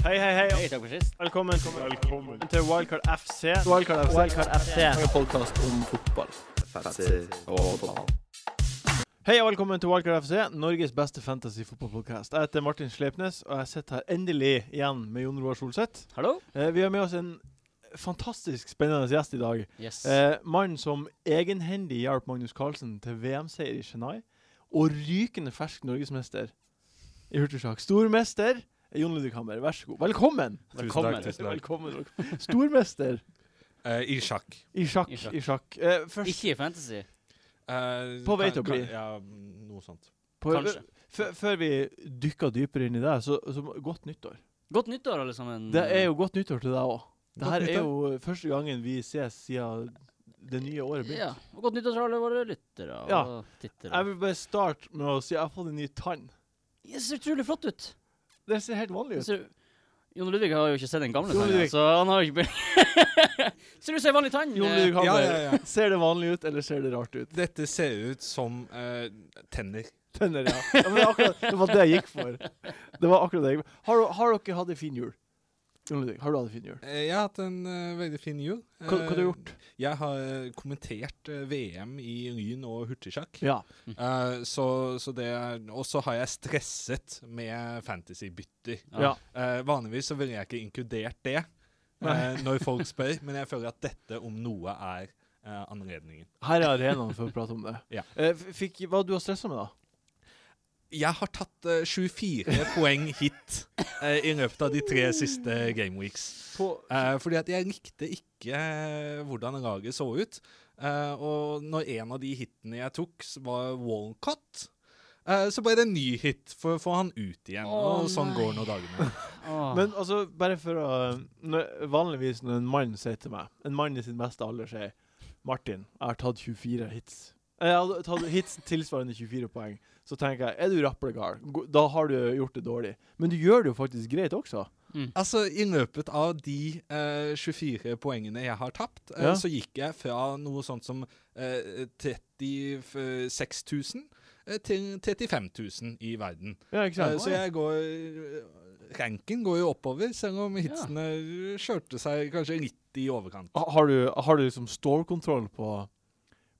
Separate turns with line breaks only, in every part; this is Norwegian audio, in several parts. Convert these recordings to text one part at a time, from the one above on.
Hei, hei, hei.
takk for sist.
Velkommen, til Wildcard FC.
Wildcard FC.
Wildcard FC.
En podkast om fotball.
Hei og velkommen til Wildcard FC, Norges beste fantasy-fotballpodkast. Jeg heter Martin Sleipnes, og jeg sitter her endelig igjen med Jon Roar Solseth.
Hallo?
Eh, Vi har med oss en fantastisk spennende gjest i dag.
Yes.
Eh, Mannen som egenhendig hjalp Magnus Carlsen til VM-seier i Chennai, og rykende fersk norgesmester i hurtigsjakk. Stormester Jon Ludvig Hammer, vær så god. Velkommen!
Velkommen.
Tusen takk, tusen takk.
Velkommen. velkommen. Stormester
Eh, I sjakk.
i sjakk.
I sjakk.
I sjakk. Eh, først
Ikke i fantasy.
Eh,
På vei
kan-
til å bli.
kan- Ja, mm, noe sånt.
på,
kanskje.
før- Før vi dykker dypere inn i det, så, så må- godt nyttår.
Godt nyttår, alle sammen.
Det er jo godt nyttår til deg òg. Det
Godt
her er
nyttår.
jo første gangen vi ses siden det nye året
Ja.
begynte.
Og godt nyttår til alle våre lyttere og
Ja.
tittere.
Jeg vil bare starte med å si at jeg har fått en ny tann.
Det ser utrolig flott ut.
Det ser helt vanlig
Det
ut.
Ser... Jon Ludvig har jo ikke sett den gamle
Jon
tannen,
Ludvig.
så han har jo ikke be- Ser ut som en vanlig tann. Eh,
Jon Ludvig
Ja,
Hammer,
ja, ja.
ser det vanlig ut, eller ser det rart ut?
Dette ser ut som eh, tenner.
Tenner, ja. ja men det, er akkurat, det var det jeg gikk for. Det var akkurat det jeg gikk for. Har, du- har dere hatt en fin jul? Jon Ludvig, har du hatt en fin jul?
Eh, jeg har hatt en eh, veldig fin jul.
Hva, hva har du
Eh,
gjort?
Jeg har kommentert eh, VM i lyn og hurtigsjakk.
Ja.
Eh, så, så det er, og så har jeg stresset med fantasybytter.
ja.
Eh, vanligvis så ville jeg ikke inkludert det eh, når folk spør, men jeg føler at dette om noe er eh, anledningen.
Her er arenaen for å prate om det.
Ja.
Eh, f- fikk, hva du har stressa med, da?
Jeg har tatt eh, 24 poeng hit eh, i løpet av de tre siste gameweeks.
På,
Eh, fordi at jeg likte ikke eh, hvordan laget så ut. Eh, og når en av de hitene jeg tok, s- var Walcott, eh, så ble det en ny hit for å få han ut igjen.
Å,
og sånn
nei.
går nå dagene.
Åh.
Men altså, bare for å når, Vanligvis når en mann sier til meg, en mann i sin beste alder, sier Martin, jeg har tatt 24 hits. Eh, Jeg har tatt hits tilsvarende 24 poeng. Så tenker jeg, er du rapplegal, Gå- da har du gjort det dårlig. Men du gjør det jo faktisk greit også.
Altså, I løpet av de eh, 24 poengene jeg har tapt, eh,
Ja.
så gikk jeg fra noe sånt som eh, 36 000 eh, til 35 000 i verden.
Ja, ikke
Eh,
sant?
Så jeg går eh, Ranken går jo oppover, selv om hitsene kjørte seg kanskje litt i overkant.
Ha- Har du, har du liksom stålkontroll på,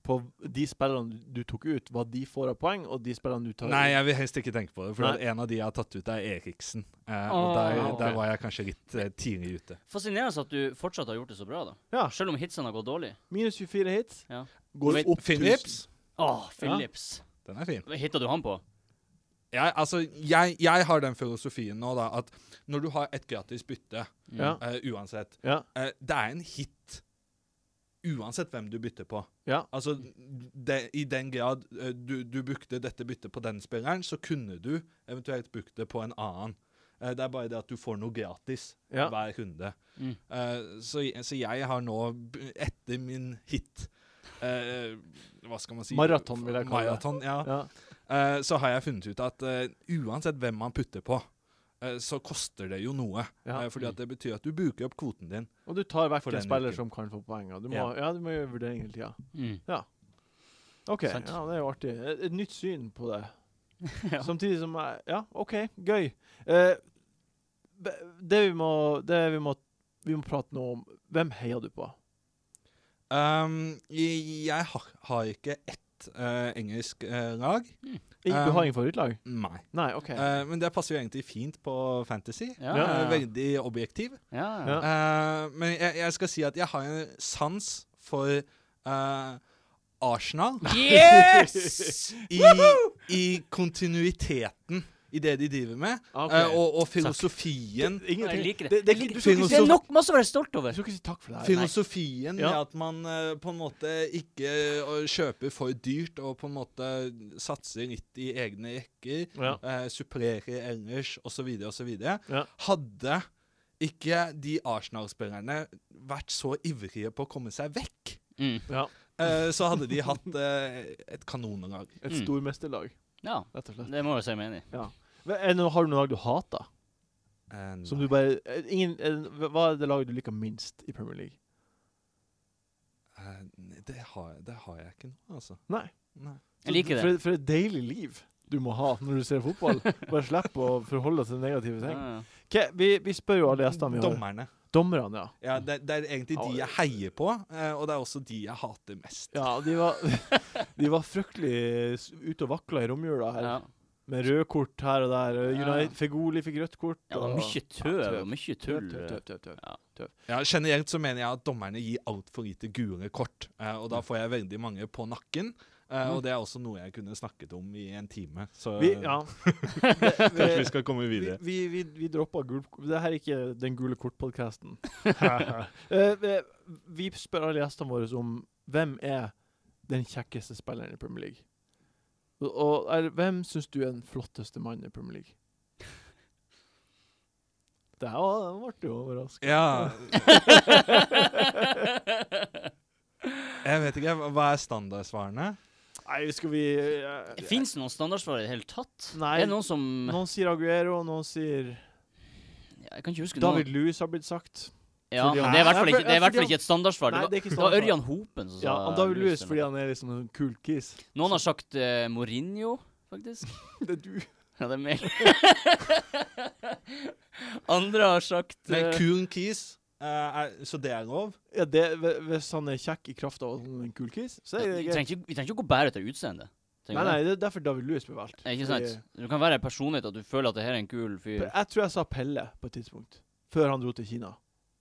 på de spillene du tok ut, hva de får av poeng, og de spillene du tar
Nei,
ut?
jeg vil helst ikke tenke på det, for
Nei.
en av de jeg har tatt ut, er Eriksen. Eh, og der,
Ah, ok.
der var jeg kanskje litt eh, tidlig ute.
Fascinerende at du fortsatt har gjort det så bra, da.
Ja.
Selv om hitsene har gått dårlig.
Minus 24 hits.
Ja.
Går
Men
opp
Philips,
1000.
Åh, Philips.
den er fin.
Hitta du han på?
Jeg, altså, jeg, jeg har den filosofien nå, da, at når du har et gratis bytte,
Ja.
eh, uansett
Ja.
eh, Det er en hit uansett hvem du bytter på.
Ja.
Altså, det, I den grad eh, du, du brukte dette byttet på den spilleren, så kunne du eventuelt brukt det på en annen. Eh, det er bare det at du får noe gratis
Ja.
hver runde.
Mm.
Eh, så, je- så jeg har nå, b- etter min hit eh, Hva skal man si?
Maraton, vil jeg kalle det.
Maraton, ja.
Ja.
Eh, så har jeg funnet ut at eh, uansett hvem man putter på, eh, så koster det jo noe.
Ja.
Eh, fordi at det betyr at du bruker opp kvoten din.
Og du tar vekk
For
en
denne
spiller
uken.
som kan få poeng. og Du må, ja.
Ja.
du må gjøre vurdering hele tida.
Mm.
OK, ja,
Sant.
det er jo artig. Et, et nytt syn på det.
Ja.
Samtidig som jeg Ja, OK, gøy. Eh, be- det vi må, det vi må vi må prate nå om Hvem heier du på?
Um, jeg jeg har, har ikke ett eh, engelsk eh, lag.
Ikke, du
Um,
Eh,
har ingen favorittlag?
Nei.
Nei, OK.
Eh, men det passer jo egentlig fint på Fantasy.
Ja.
Jeg er veldig objektiv.
Ja.
Ja.
Eh, men jeg, jeg skal si at jeg har en sans for eh, Arsenal
Yes!
i, i kontinuiteten i det de driver med,
Ok.
eh, og, og filosofien.
Ingen-
Jeg liker det.
det, det er ikke,
Jeg
du, skal
liker
ikke
Det
si,
er nok masse å være stolt
du
over.
skal ikke si takk for det her.
Filosofien med
Ja.
at man eh, på en måte ikke eh, kjøper for dyrt, og på en måte satser litt i egne rekker,
Ja.
eh, supplerer ellers, osv., osv.
Ja.
Hadde ikke de Arsenal-spillerne vært så ivrige på å komme seg vekk,
Mm.
Ja,
eh, så hadde de hatt eh, et kanonlag.
et
Mm.
stormesterlag,
Ja.
rett og slett.
Det må jeg si meg enig i.
Hva- Er det noe, har du noe lag du hater?
Eh, nei.
Som du bare eh, ingen, eh, hva- Hva er det laget du liker minst i Premier League?
Eh, nei, det, har, det har jeg ikke nå, altså.
Nei.
Nei.
Jeg liker det.
For, for et deilig liv. du må ha når du ser fotball. Bare slipp å forholde deg til negative ting.
Ja, ja.
Ok, vi, vi spør jo alle gjestene vi har.
Dommerne.
Dommerne, ja.
Ja, det, det er egentlig de jeg heier på, eh, og det er også de jeg hater mest.
Ja, de var, de var fryktelig s- ute og vakla i romjula her.
Ja.
Med røde kort her og der. og
Ja.
United, Fegoli fikk rødt kort.
Ja, det var
og-
mye tøv
tøv.
og mye
Tøv,
tull.
tøv, tøv, tøv, tøv.
Ja, generelt så mener jeg at dommerne gir altfor lite gule kort, eh, og
Mm.
da får jeg veldig mange på nakken. eh, Og det er også noe jeg kunne snakket om i en time, så
Vi, ja.
kanskje
Det,
vi skal komme
vi,
videre.
vi, vi, vi droppa gul Det her er ikke den gule kort-podkasten. Eh, vi- vi spør alle gjestene våre om hvem er den kjekkeste spilleren i Premier League. Og, og eller, hvem syns du er den flotteste mannen i Premier League? Det her var den ble jo overraskende.
Ja, jeg vet ikke. hva- Hva er standardsvarene?
Nei, skal vi eh,
Fins det noen standardsvar i det hele tatt?
Nei.
Er det noen som
Noen sier Aguero, noen sier
ja, Jeg kan ikke huske
David
noen.
Lewis har blitt sagt.
Ja,
fordi han-
det er i hvert fall
Nei,
ikke, det er i hvert
fordi
fall ikke et standardsvar.
Nei,
Det var,
det er ikke
det var
standard.
Ørjan Hopen som
Ja,
sa
og David Lewis
eller
fordi
noe.
han er liksom en cool kis.
Noen har sagt eh, Mourinho, faktisk.
Det er du.
Ja, det er meg. Andre har sagt
Men
eh,
Coon Keys, eh, er, så det er lov?
Ja, det, hv- hvis han er kjekk i kraft av at han er en cool kis, så
Vi
er det greit.
trenger ikke, vi trenger ikke å gå bare etter utseende.
Nei, nei, det er derfor David Lewis ble valgt.
Ikke
Fordi-
sant? Du kan være en personlighet at du føler at det her er en kul fyr.
Jeg tror jeg sa Pelle på et tidspunkt, før han dro til Kina.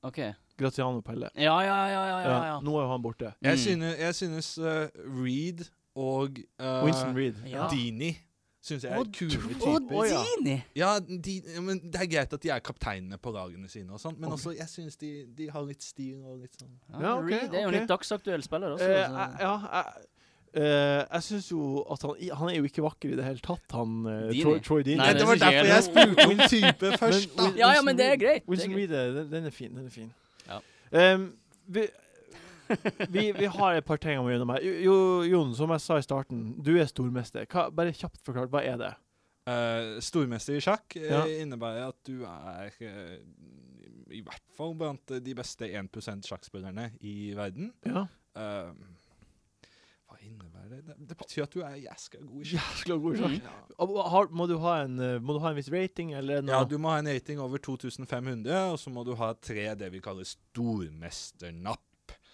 OK. Ja,
Graziano Pelle.
ja, ja, ja. ja, ja.
Ja, nå er jo han borte.
Jeg
Mm.
synes, jeg synes eh, Reed og eh,
Winston Reed.
Ja.
Dini synes jeg er
Og
kule
Og
typer.
Å, ja.
Dini!
Ja, de, ja, men Det er greit at de er kapteinene på lagene sine, og sånt, men også jeg synes de, de har litt stil. og litt sånn.
Ja,
Ja, ok,
Reed er jo
ok.
en litt dagsaktuell spiller også.
Eh,
altså.
jeg- ja, jeg eh, jeg syns jo at han i- Han er jo ikke vakker i det hele tatt, han eh,
Dini.
Troy, Troy Dini.
Nei,
Nei,
det
det var
synes jeg er
derfor jeg spurte om type først, da.
Men-
ja, ja, men det er greit. Det er
Wilson Reed,
greit.
er- den, den er fin. Den er fin.
Ja.
Ehm, vi, vi, vi har et par ting jeg må gjennom her. Jo, jo- Jon, som jeg sa i starten, du er stormester. Hva, bare kjapt forklart, hva er det?
Eh, stormester i sjakk eh,
Ja.
innebærer at du er eh, i hvert fall blant de beste 1 sjakkspillerne i verden.
Ja.
Eh, hva innebærer det? det? Det betyr at du er jæskla god i sjakk.
Jæskla god sjakk.
Ja.
Og Har, må, du ha en, eh, må du ha en viss rating, eller noe?
Ja, du må ha en rating over 2500, og så må du ha tre det vi kaller stormesternapp,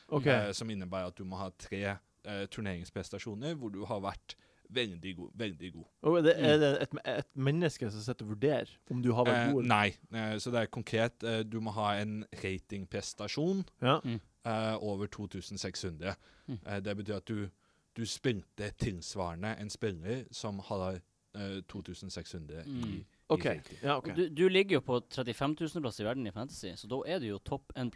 Ok.
eh, som innebærer at du må ha tre eh, turneringsprestasjoner hvor du har vært veldig god. Veldig god.
Og er det, er det et, et menneske som sitter og vurderer om du har vært
Mm. Eh,
god?
nei, eh, så det er konkret. Eh, du må ha en ratingprestasjon
Ja.
eh, over 2600.
Mm.
Eh, det betyr at du, du spilte tilsvarende en spiller som har eh, 2600 i,
Mm.
i
OK.
rating.
Ja, ok.
Du, du ligger jo på 35 000-plass i verden i fantasy, så da er du jo topp 1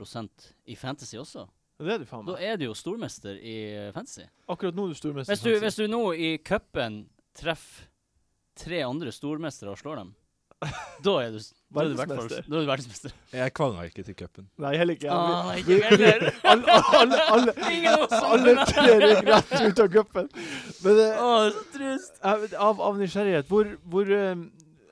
i fantasy også.
Det er du faen
Da
meg.
er du jo stormester i eh, fantasy.
Akkurat nå er du stormester.
Hvis du,
Hansen.
hvis du nå i cupen treffer tre andre stormestere og slår dem, da er du, s- da er du, i hvert fall-
Verdensmester.
da er du verdensmester.
Jeg kvala ikke til cupen.
Nei, heller ikke.
Ah,
Vi-
ikke heller.
alle, alle, alle,
Ingen av oss som
alle tre røyk rett ut av cupen. Men eh,
Å, så trist.
jeg- av, av nysgjerrighet, hvor, hvor eh,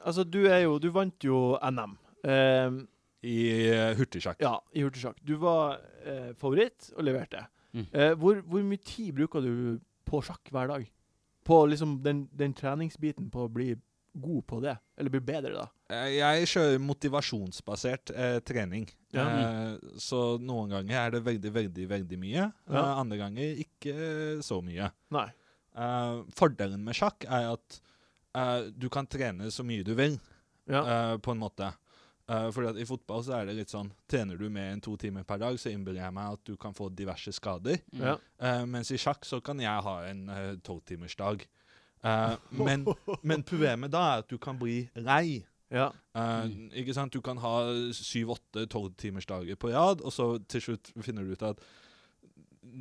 Altså, du er jo Du vant jo NM. Eh,
I eh, hurtigsjakk.
ja, i hurtigsjakk. Du var eh, favoritt og leverte.
Mm.
Eh, hvor, hvor mye tid bruker du på sjakk hver dag? På liksom den, den treningsbiten på å bli god på det? Eller bli bedre, da?
Eh, Jeg kjører motivasjonsbasert eh, trening.
Ja.
Eh, så noen ganger er det veldig, veldig, veldig mye. Eh,
Ja.
andre ganger ikke eh, så mye.
Nei.
Eh, fordelen med sjakk er at eh, du kan trene så mye du vil,
Ja.
eh, på en måte. Eh, fordi at i fotball så er det litt sånn Trener du mer enn to timer per dag, så innbiller jeg meg at du kan få diverse skader.
Mm.
ja.
Eh, mens i sjakk så kan jeg ha en eh, tolvtimersdag. Uh, men, men problemet da er at du kan bli lei.
ja.
Eh,
Mm.
Ikke sant? Du kan ha syv, åtte, tolv timers dager på rad, og så til slutt finner du ut at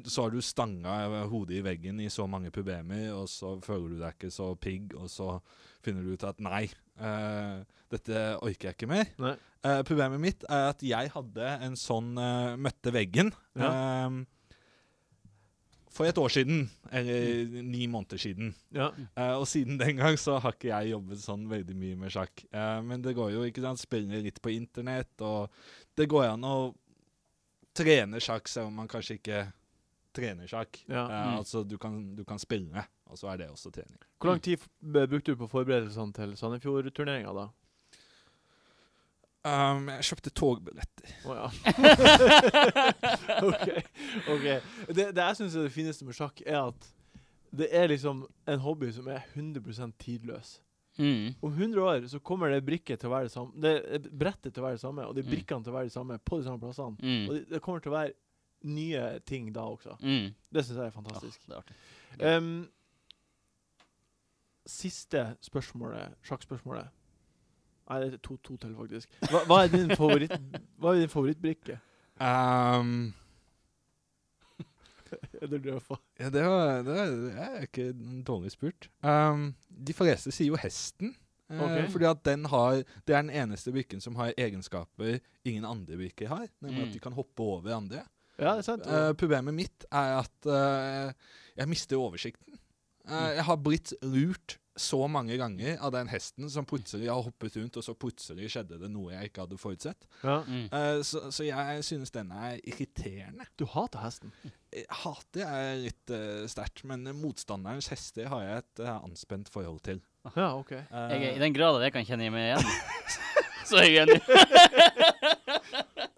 så har du stanga hodet i veggen i så mange problemer, og så føler du deg ikke så pigg, og så finner du ut at nei, eh, dette orker jeg ikke mer.
Nei.
Eh, problemet mitt er at jeg hadde en sånn eh, møtte veggen
Mm.
eh, for et år siden, eller ni måneder siden.
Ja.
Eh, og siden den gang så har ikke jeg jobbet sånn veldig mye med sjakk. Eh, men det går jo, ikke sant, spiller litt på internett, og det går an å trene sjakk selv om man kanskje ikke trener sjakk.
Ja.
Eh,
Mm.
Altså, du kan, du kan spille. Og så er det også trening.
Hvor lang tid f- b- brukte du på forberedelsene til Sandefjord-turneringa, da?
Um, jeg kjøpte togbilletter.
Å ja. OK. ok. Det, det jeg syns er det fineste med sjakk, er at det er liksom en hobby som er 100 tidløs.
Mm.
Om 100 år så kommer det brikket til å være det samme Det eh, brettet til å være det samme, og de
Mm.
brikkene til å være det samme på de samme plassene. Og
Mm.
det, det kommer til å være nye ting da også.
Mm.
Det syns jeg er
Ah,
fantastisk.
det er artig. Ja.
Em, siste spørsmålet, sjakkspørsmålet. Nei, det er to, to til, faktisk. Hva, hva er din favoritt Hva er din favorittbrikke?
Um,
Eller røfa?
ja, det, var, det, var, det er ikke dårlig spurt. Um, de fleste sier jo hesten. eh,
Ok.
Fordi at den har Det er den eneste brikken som har egenskaper ingen andre brikker har. Nemlig
Mm.
at de kan hoppe over andre.
Ja, det er sant.
Eh, problemet mitt er at eh, jeg mister oversikten. Eh, jeg har blitt lurt så mange ganger av den hesten som plutselig har hoppet rundt, og så plutselig skjedde det noe jeg ikke hadde forutsett.
ja.
Mm.
Eh, så, så jeg synes den er irriterende.
Du hater hesten.
Eh, Hater er litt eh, sterkt, men motstanderens hester har jeg et eh, anspent forhold til.
Ja, OK.
Eh,
Jeg, er- I den grad at jeg kan kjenne meg igjen, så er jeg enig.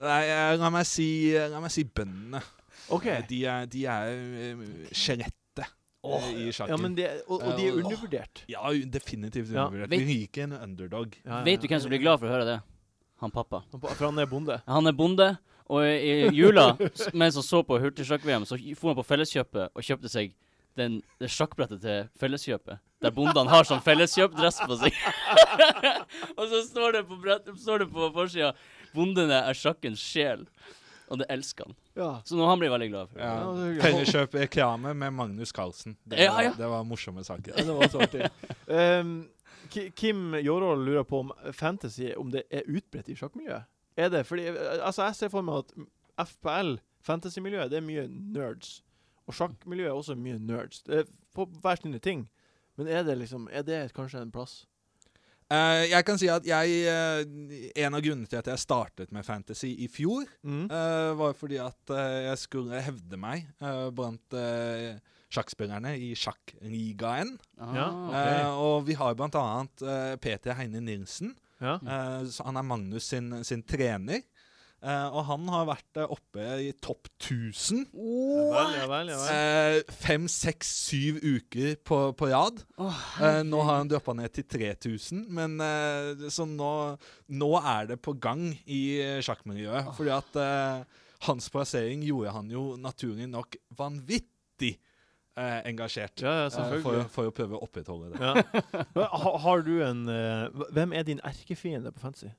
nei, eh, la meg si, la meg si bøndene.
Ok.
Eh, De er, de er eh, skjelettet eh, i sjakken.
Ja, men de, og, og de er undervurdert.
Ja, definitivt
Ja.
undervurdert.
Vet-
Vi liker en underdog.
Ja, ja,
Vet du
ja.
hvem som blir glad for å høre det? Han pappa.
Han pa- For han er bonde.
Han er bonde, og i i jula, s- mens han så på hurtigsjakk-VM, så for han på Felleskjøpet og kjøpte seg den, det sjakkbrettet til Felleskjøpet. Der bondene har sånn Felleskjøp-dress på seg. og så står det på, brett, står det på forsida 'Bondene er sjakkens sjel'. Og det elsker han.
Ja.
Så nå han blir veldig glad for det.
Ja.
Ja, det er gøy.
Felleskjøp-reklame med Magnus Carlsen. Det
Ja,
var,
ja.
det var morsomme saker.
Ja, Det var så artig. Em, Ki- Kim Jårål lurer på om fantasy om det er utbredt i sjakkmiljøet. Er det? Fordi, eh, altså Jeg ser for meg at FPL, fantasymiljøet, det er mye nerds. Og sjakkmiljøet er også mye nerds. Det er på hver sine ting. Men er det liksom, er det kanskje en plass?
Eh, jeg kan si at jeg eh, En av grunnene til at jeg startet med fantasy i fjor,
Mm.
eh, var fordi at eh, jeg skulle hevde meg eh, blant eh, sjakkspillerne i sjakkligaen.
Ja.
Ah,
Eh, og vi har blant annet eh, Peter Heine Nilsen.
Ja.
Eh, så han er Magnus sin, sin trener. Eh, og han har vært eh, oppe i topp 1000
Ja vel, ja vel, ja vel.
Eh, fem, seks, syv uker på, på rad. Eh, nå har han droppa ned til 3000, men eh, så nå, nå er det på gang i eh, sjakkmiljøet. Fordi at eh, hans plassering gjorde han jo naturlig nok vanvittig eh, engasjert.
Ja, ja,
eh, for,
selvfølgelig.
for å prøve å opprettholde det.
Ja. Men Ha, har du en eh, hv- Hvem er din erkefiende på fantasy?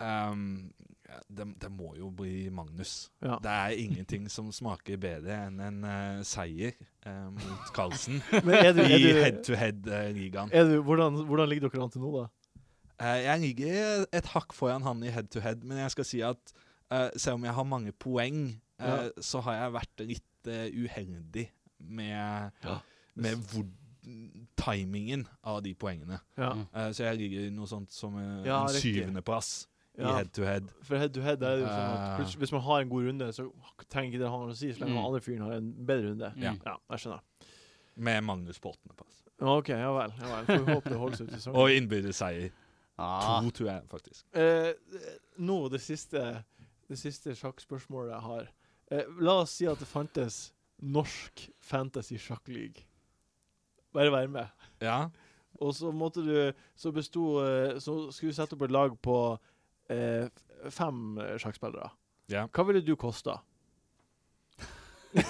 Ehm, ja, det, det må jo bli Magnus.
Ja.
Det er ingenting som smaker bedre enn en eh, seier eh, mot Carlsen
Men er du,
i eh,
er du,
head-to-head-ligaen.
er du, hvordan, hvordan ligger dere an til nå, da?
Eh, Jeg ligger et hakk foran han i head to head, men jeg skal si at eh, selv om jeg har mange poeng, eh, så har jeg vært litt eh, uheldig med,
Ja.
med hvor, timingen av de poengene.
Ja.
Mm.
Eh, så jeg ligger i noe sånt som eh,
Ja,
en
riktig.
syvendeplass i
Ja,
head to head.
For head to head er det jo sånn at
Eh.
plutselig- hvis man har en god runde, så trenger ikke det ha noe å si, så lenge
Mm.
den andre fyren har en bedre runde.
Ja.
Ja, jeg skjønner.
Med Magnus på åttendeplass.
Ja, OK, ja vel. Ja vel. Får vi håpe det holder seg ut i sesongen.
Og innbyrdes seier.
Ah.
To, tror jeg, faktisk.
Eh, nå, det siste, det siste sjakkspørsmålet jeg har. Eh, la oss si at det fantes norsk fantasy sjakkleague. Bare vær med.
Ja.
Og så måtte du Så besto eh, Så skulle du sette opp et lag på eh, f- fem eh, sjakkspillere.
Ja.
Hva ville du kosta? det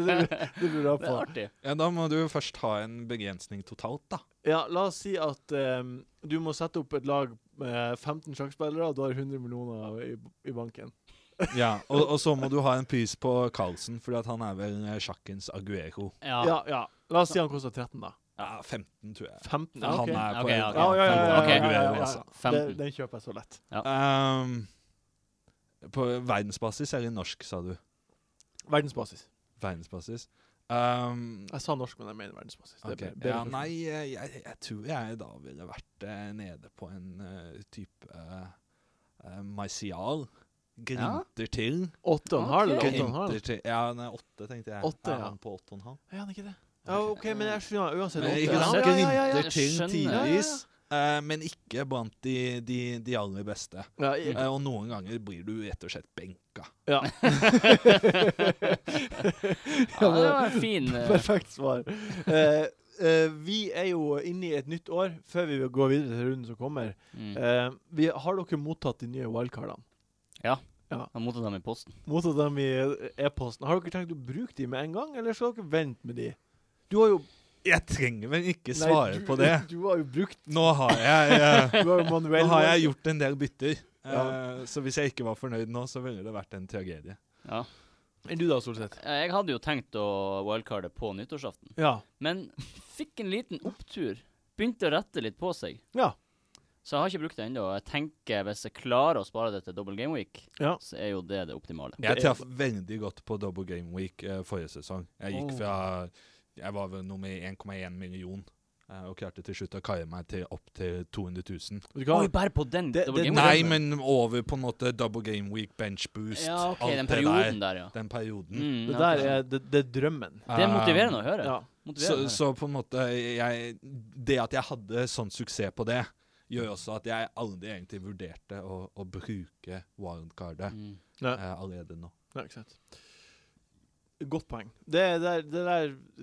lurer det lurer jeg
Det er
på.
artig.
ja, da må du først ha en begrensning totalt, da.
Ja, la oss si at eh, du må sette opp et lag med 15 sjakkspillere, og du har 100 millioner i, i banken.
Ja, og, og så må du ha en pris på Carlsen, fordi at han er vel eh, sjakkens Aguero.
Ja.
Ja, ja. La oss si han koster 13, da.
Ja, 15, tror jeg.
15? Ja, ok.
Han er på
Ok, ja,
en-
ok. Ja,
ja, ja, ja,
han
ja,
er på
ja,
ja,
Aguero,
ja.
altså.
Det,
15.
den kjøper jeg så lett.
Ehm, på verdensbasis eller norsk, sa du?
Verdensbasis.
Verdensbasis. Ehm,
Jeg sa norsk, men jeg mener verdensbasis. Det er
ok.
be- bedre
ja,
for-
nei, eh, jeg, jeg tror jeg da ville vært eh, nede på en eh, type eh, eh, Martial. Grinter til.
Åtte og en halv?
Ok.
Åtte og en halv?
Grinter til. Ja, nei, åtte, tenkte jeg.
Åtte,
er
ja.
han på åtte og en halv?
Er han ikke det? Ja, OK, men jeg skjønner uansett.
Men
åtte.
ikke
Ja,
sant?
ja, ja, ja, ja.
Grinter
Jeg
til
skjønner.
tidvis, eh, men ikke blant de, de, de aller beste.
Ja, i-
Eh, og noen ganger blir du rett og slett benka.
ja.
Ja, det var en fin eh,
Perfekt svar. Eh, eh, vi er jo inne i et nytt år, før vi går videre til runden som kommer.
mm.
Eh, vi, har dere mottatt de nye wildcardene?
Jeg mottok dem i posten.
Mottatt dem i e-posten. Har dere tenkt å bruke de med en gang, eller skal dere vente med de? Du har jo
Jeg trenger vel ikke
Nei,
svare
du-
på det.
Du har jo brukt
Nå har jeg, eh,
Du har jo manuell
nå har jeg gjort en del bytter. Eh,
Ja.
Så hvis jeg ikke var fornøyd nå, så ville det vært en tragedie.
Ja.
Enn du da, Solseth?
Eh, Jeg hadde jo tenkt å wildcarde på nyttårsaften,
Ja.
men fikk en liten opptur. Begynte å rette litt på seg.
Ja.
Så jeg har ikke brukt det ennå. Jeg tenker hvis jeg klarer å spare det til double game week,
Ja.
så er jo det det optimale.
Det
Jeg
er-
traff veldig godt på Double Game Week eh, forrige sesong. Jeg
Oh.
gikk fra Jeg var vel nummer 1,1 million eh, og klarte til slutt å kaie meg til opp til 200 000.
Vet du hva?
Oi, bare på den
Det-
double
det-
game
Nei,
week?
men over på en måte Double Game Week, Bench Boost,
Ja, OK,
alt
den
det
perioden der, ja.
der. Den perioden.
Mm,
Det
ja,
der
kanskje.
er, det, det er drømmen.
Det er
Eh,
motiverende å høre.
Ja.
Så,
Motiverende å høre.
så på en måte jeg, Det at jeg hadde sånn suksess på det, gjør også at jeg aldri egentlig vurderte å, å bruke wildcardet
Mm.
eh, allerede nå.
Ja, ikke sant. Godt poeng. Det, er- det, er- det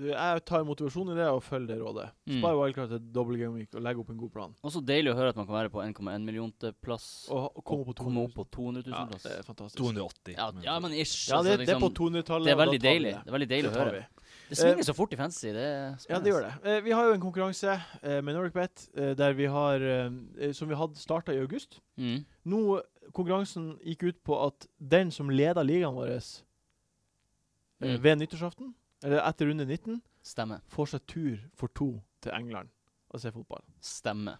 der, jeg tar motivasjon i det og følger det rådet.
Mm.
Spar wildcard til double game week og legg opp en god plan.
Også deilig å høre at man kan være på 1,1 millionte plass.
Og og kom opp på
komme opp
200
på 200
Ja,
000 plass.
det er fantastisk.
280.
Ja, ja, men ish.
Ja, det,
altså,
det er på
liksom,
200-tallet.
det er
og da tar vi
veldig deilig.
det.
Det er veldig deilig
Det
å
tar
høre.
vi.
Det svinger så fort i fancy. Det er
Eh, Ja, det gjør det. Eh, Vi har jo en konkurranse eh, med NoricBet eh, der vi har, eh, som vi hadde starta i august.
Mm.
Nå, konkurransen gikk ut på at den som leda ligaen vår eh,
Mm.
ved nyttårsaften, eller etter runde 19,
Stemme.
får seg tur for to til England og se fotball.
Stemme.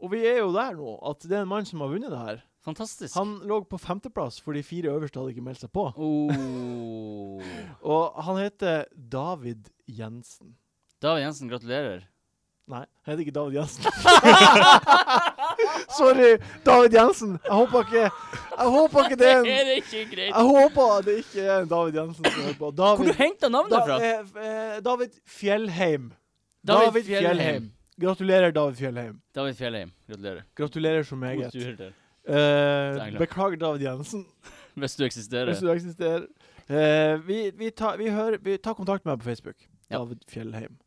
Og vi er jo der nå, at det er en mann som har vunnet det her.
Fantastisk.
Han lå på femteplass, for de fire øverste hadde ikke meldt seg på.
Oh.
Og han heter David Jensen.
David Jensen, gratulerer.
Nei, han heter ikke David Jensen. Sorry, David Jensen. Jeg håper ikke Jeg håper ikke det er en Ah,
det ikke greit?
Jeg håper det ikke er en David Jensen som hører på.
Hvor du
David,
henta navnet
da,
fra?
eh, eh, David Fjellheim.
David
David
Fjellheim.
Fjellheim. Gratulerer, David Fjellheim.
David Fjellheim, gratulerer.
Gratulerer så
God
meget.
tur til.
Eh,
England.
beklager, David Jensen,
Hvis du eksisterer.
hvis du eksisterer. Eh, vi, vi, tar, vi, hører, vi tar kontakt med meg på Facebook.
Ja.
David Fjellheim.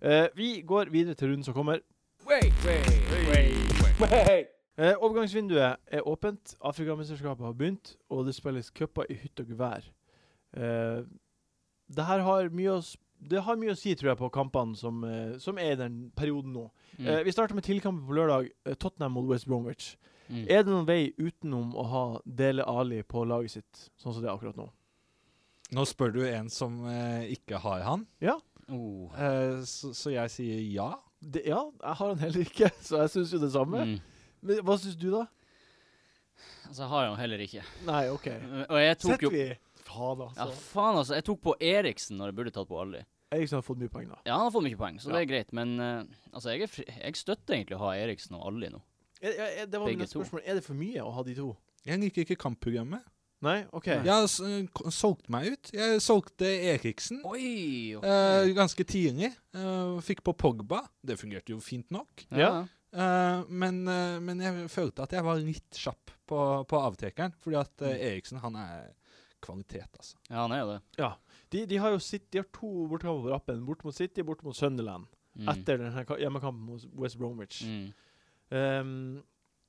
Eh, vi går videre til runden som kommer. Eh, overgangsvinduet er åpent. Afrikamesterskapet har begynt, og det spilles cuper i hytt og gevær. Eh, det her har mye å s- det har mye å si, tror jeg, på kampene som, eh, som er i den perioden nå.
Mm.
Eh, vi starter med tilkampen på lørdag. eh, Tottenham mot West Bromwich.
Mm.
Er det noen vei utenom å ha Dele Ali på laget sitt, sånn som det er akkurat nå?
Nå spør du en som eh, ikke har han,
Oh.
eh, så, så jeg sier ja.
Det, ja, jeg har han heller ikke, så jeg syns jo det samme.
Mm.
Men hva syns du, da?
Altså, jeg har han heller ikke.
Nei, OK.
Og jeg tok
Setter
jo
vi Faen,
Ja,
altså.
faen, altså. Jeg tok på Eriksen når jeg burde tatt på Alli.
Eriksen har fått mye poeng, da.
Ja, han har fått mye poeng, så
Ja.
det er greit. Men eh, altså, jeg, er fri, jeg støtter egentlig å ha Eriksen og Alli nå.
Er, er, er, det var
Begge
mitt
to.
spørsmål. Er det for mye å ha de to?
Jeg liker ikke kampprogrammet.
Nei? OK.
Jeg har s- k- solgt meg ut. Jeg solgte Eriksen
Oi! ok.
eh, ganske tidlig. eh, fikk på Pogba. Det fungerte jo fint nok.
ja.
Eh, men, eh, men jeg følte at jeg var litt kjapp på, på avtrekeren, fordi at eh, Eriksen han er kvalitet, altså.
Ja, han er jo det.
De, de har jo sitt, de har to bortekamper på rappen. Bort mot City, bort mot Sunderland.
Mm.
Etter denne ka- hjemmekampen mot West Bromwich.
Mm.
Ehm,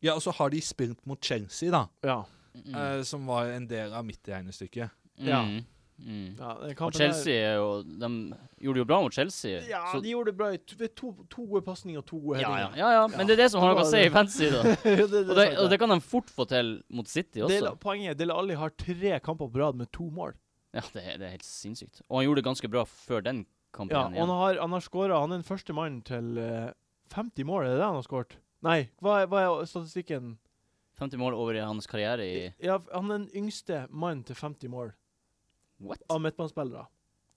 Ja, og så har de spilt mot Chelsea, da,
ja.
Mm.
eh, som var en del av mitt regnestykke.
ja.
Mm. Mm.
ja den
Og
kampen
Chelsea er jo De gjorde det jo bra mot Chelsea.
der, Ja,
så-
de gjorde det bra. i To, ved to, to gode pasninger og to gode
ja, ja,
headinger.
ja, ja, men det er det som har noe å si i fancy, da.
det, det,
Og det, og det kan de fort få til mot City også.
Poenget er at Dele Alli har tre kamper på rad med to mål.
Ja, det er, det er helt sinnssykt. Og han gjorde det ganske bra før den kampen.
Ja,
igjen.
og han har, han har skåra Han er den første mannen til eh, 50 mål, er det det han har skåret? Nei, hva, er- hva er statistikken?
50 mål over i hans karriere i
Ja, f- han er den yngste mannen til 50 mål
What?
av midtbanespillere.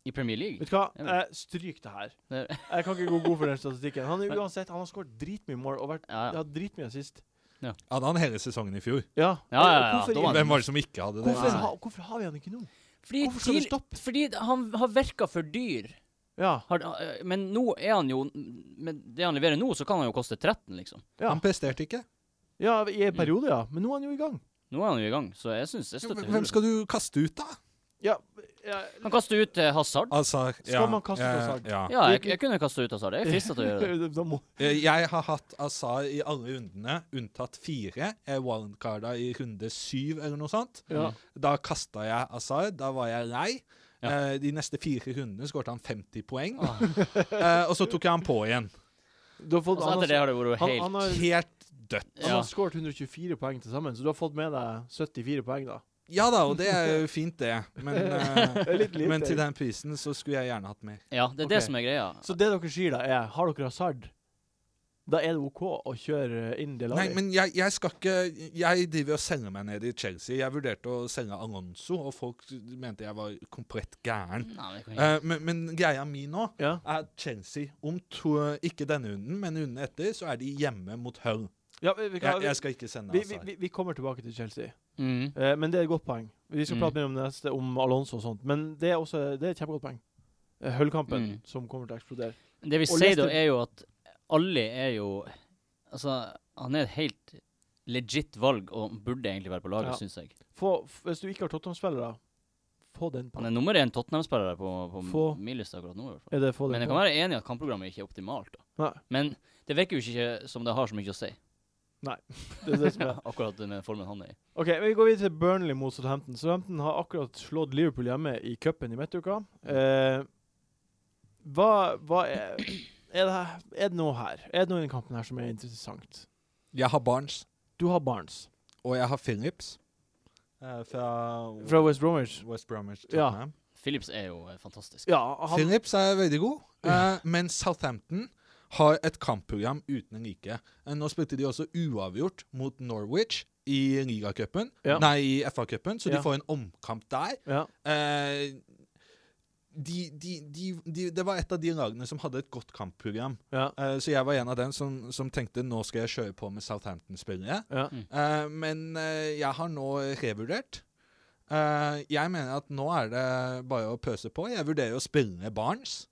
I Premier League?
Vet du hva?
Ja, men-
Eh, stryk det her.
Det-
Jeg kan ikke gå god for den statistikken. Han er
Men-
uansett, han har skåret dritmye mål og vært
Ja, ja.
ja, dritmye sist.
Hadde han hele sesongen i fjor?
Ja.
Ja, ja, ja,
Hvorfor,
da var han-
Hvem var det som ikke hadde det?
hvorfor,
Nei.
ha, hvorfor har vi han ikke nå?
Fordi,
Hvorfor skal vi
tidlig-
stoppe?
fordi han har virka for dyr.
Ja.
Har, eh, men nå er han jo Med det han leverer nå, så kan han jo koste 13, liksom.
Ja.
Han presterte ikke.
ja, i
Mm.
en periode, ja. Men nå er han jo i gang.
Nå er han jo i gang, så jeg syns jeg
Jo,
støtter
Hvem skal du kaste ut, da?
Ja, ja
Han kaster ut eh, Hazard.
Ah.
Azar. Eh,
Skal man kaste ut Hazard?
Ja.
Ja, jeg, jeg kunne kasta ut Hazard. Jeg er frista til å gjøre det.
Da må,
Eh, Jeg har hatt Azar i alle rundene, unntatt fire. Jeg wildcarda i runde syv eller noe sånt.
ja.
Da kasta jeg Azar. Da var jeg lei.
Ja.
Eh, De neste fire rundene skåret han 50 poeng,
Ah.
Eh, og så tok jeg han på igjen.
Du har fått
Altså,
han har-
etter det har det vært
han,
helt
han har,
Helt dødt.
han
ja.
har skåret 124 poeng til sammen, så du har fått med deg 74 poeng, da.
Ja da, og det er jo fint, det. Men, eh,
Det er litt lite.
men til den prisen så skulle jeg gjerne hatt mer.
ja, det er
Ok.
det som er greia.
Så det dere sier, da, er har dere hasard, da er det OK å kjøre inn det
Nei,
laget?
men jeg, jeg skal ikke Jeg driver og selger meg ned i Chelsea. Jeg vurderte å selge Alonso, og folk mente jeg var komplett gæren.
Nei, det kan jeg ikke.
Eh, men, men greia mi nå
ja.
er at Chelsea om to, Ikke denne runden, men runden etter, så er de hjemme mot Hull.
ja vi, vi, kan,
Jeg,
vi,
jeg skal ikke sende
vi,
Hazard.
vi, vi kommer tilbake til Chelsea,
Mhm.
eh, men det er et godt poeng. Vi skal
Mm.
prate mer om det neste, om Alonso og sånt, men det er også det er et kjempegodt poeng. Eh, Hull-kampen
Mm.
som kommer til å eksplodere.
Det vi
Og
sier da,
Leicester-
er jo at Ali er jo Altså, han er et helt legit valg og burde egentlig være på laget,
Ja.
synes syns jeg.
Få, f- hvis du ikke har Tottenham-spillere, få den på.
Han er nummer én Tottenham-spiller på, på
Få-
Milist akkurat nå. i hvert fall.
Er det få den
Men jeg
på?
kan være enig i at kampprogrammet ikke er optimalt. da.
Nei,
Men det virker jo ikke som det har så mye å si,
det er det som er.
akkurat med formen han er i.
Ok, men Vi går videre til Burnley mot Southampton. Southampton har akkurat slått Liverpool hjemme i cupen i midtuka. Eh, hva, hva er, er, det her, er det noe her? Er det noe i den kampen her som er interessant?
Jeg har Barnes,
Du har Barnes
og jeg har Phillips. eh, fra,
fra West Bromwich.
West Bromwich.
Ja.
Tottenham.
Phillips er jo eh, fantastisk.
Ja, han,
Phillips er veldig god, eh, men Southampton har et kampprogram uten en like. Eh, Nå spilte de også uavgjort mot Norwich i ligacupen,
Ja.
nei, i FA-cupen, så
Ja.
de får en omkamp der.
ja,
Eh, de, de, de, de, det var et av de lagene som hadde et godt kampprogram.
ja,
Eh, så jeg var en av dem som, som tenkte nå skal jeg kjøre på med Southampton-spillere.
ja.
Eh, men eh, jeg har nå revurdert. Eh, jeg mener at nå er det bare å pøse på. Jeg vurderer å spille Barnes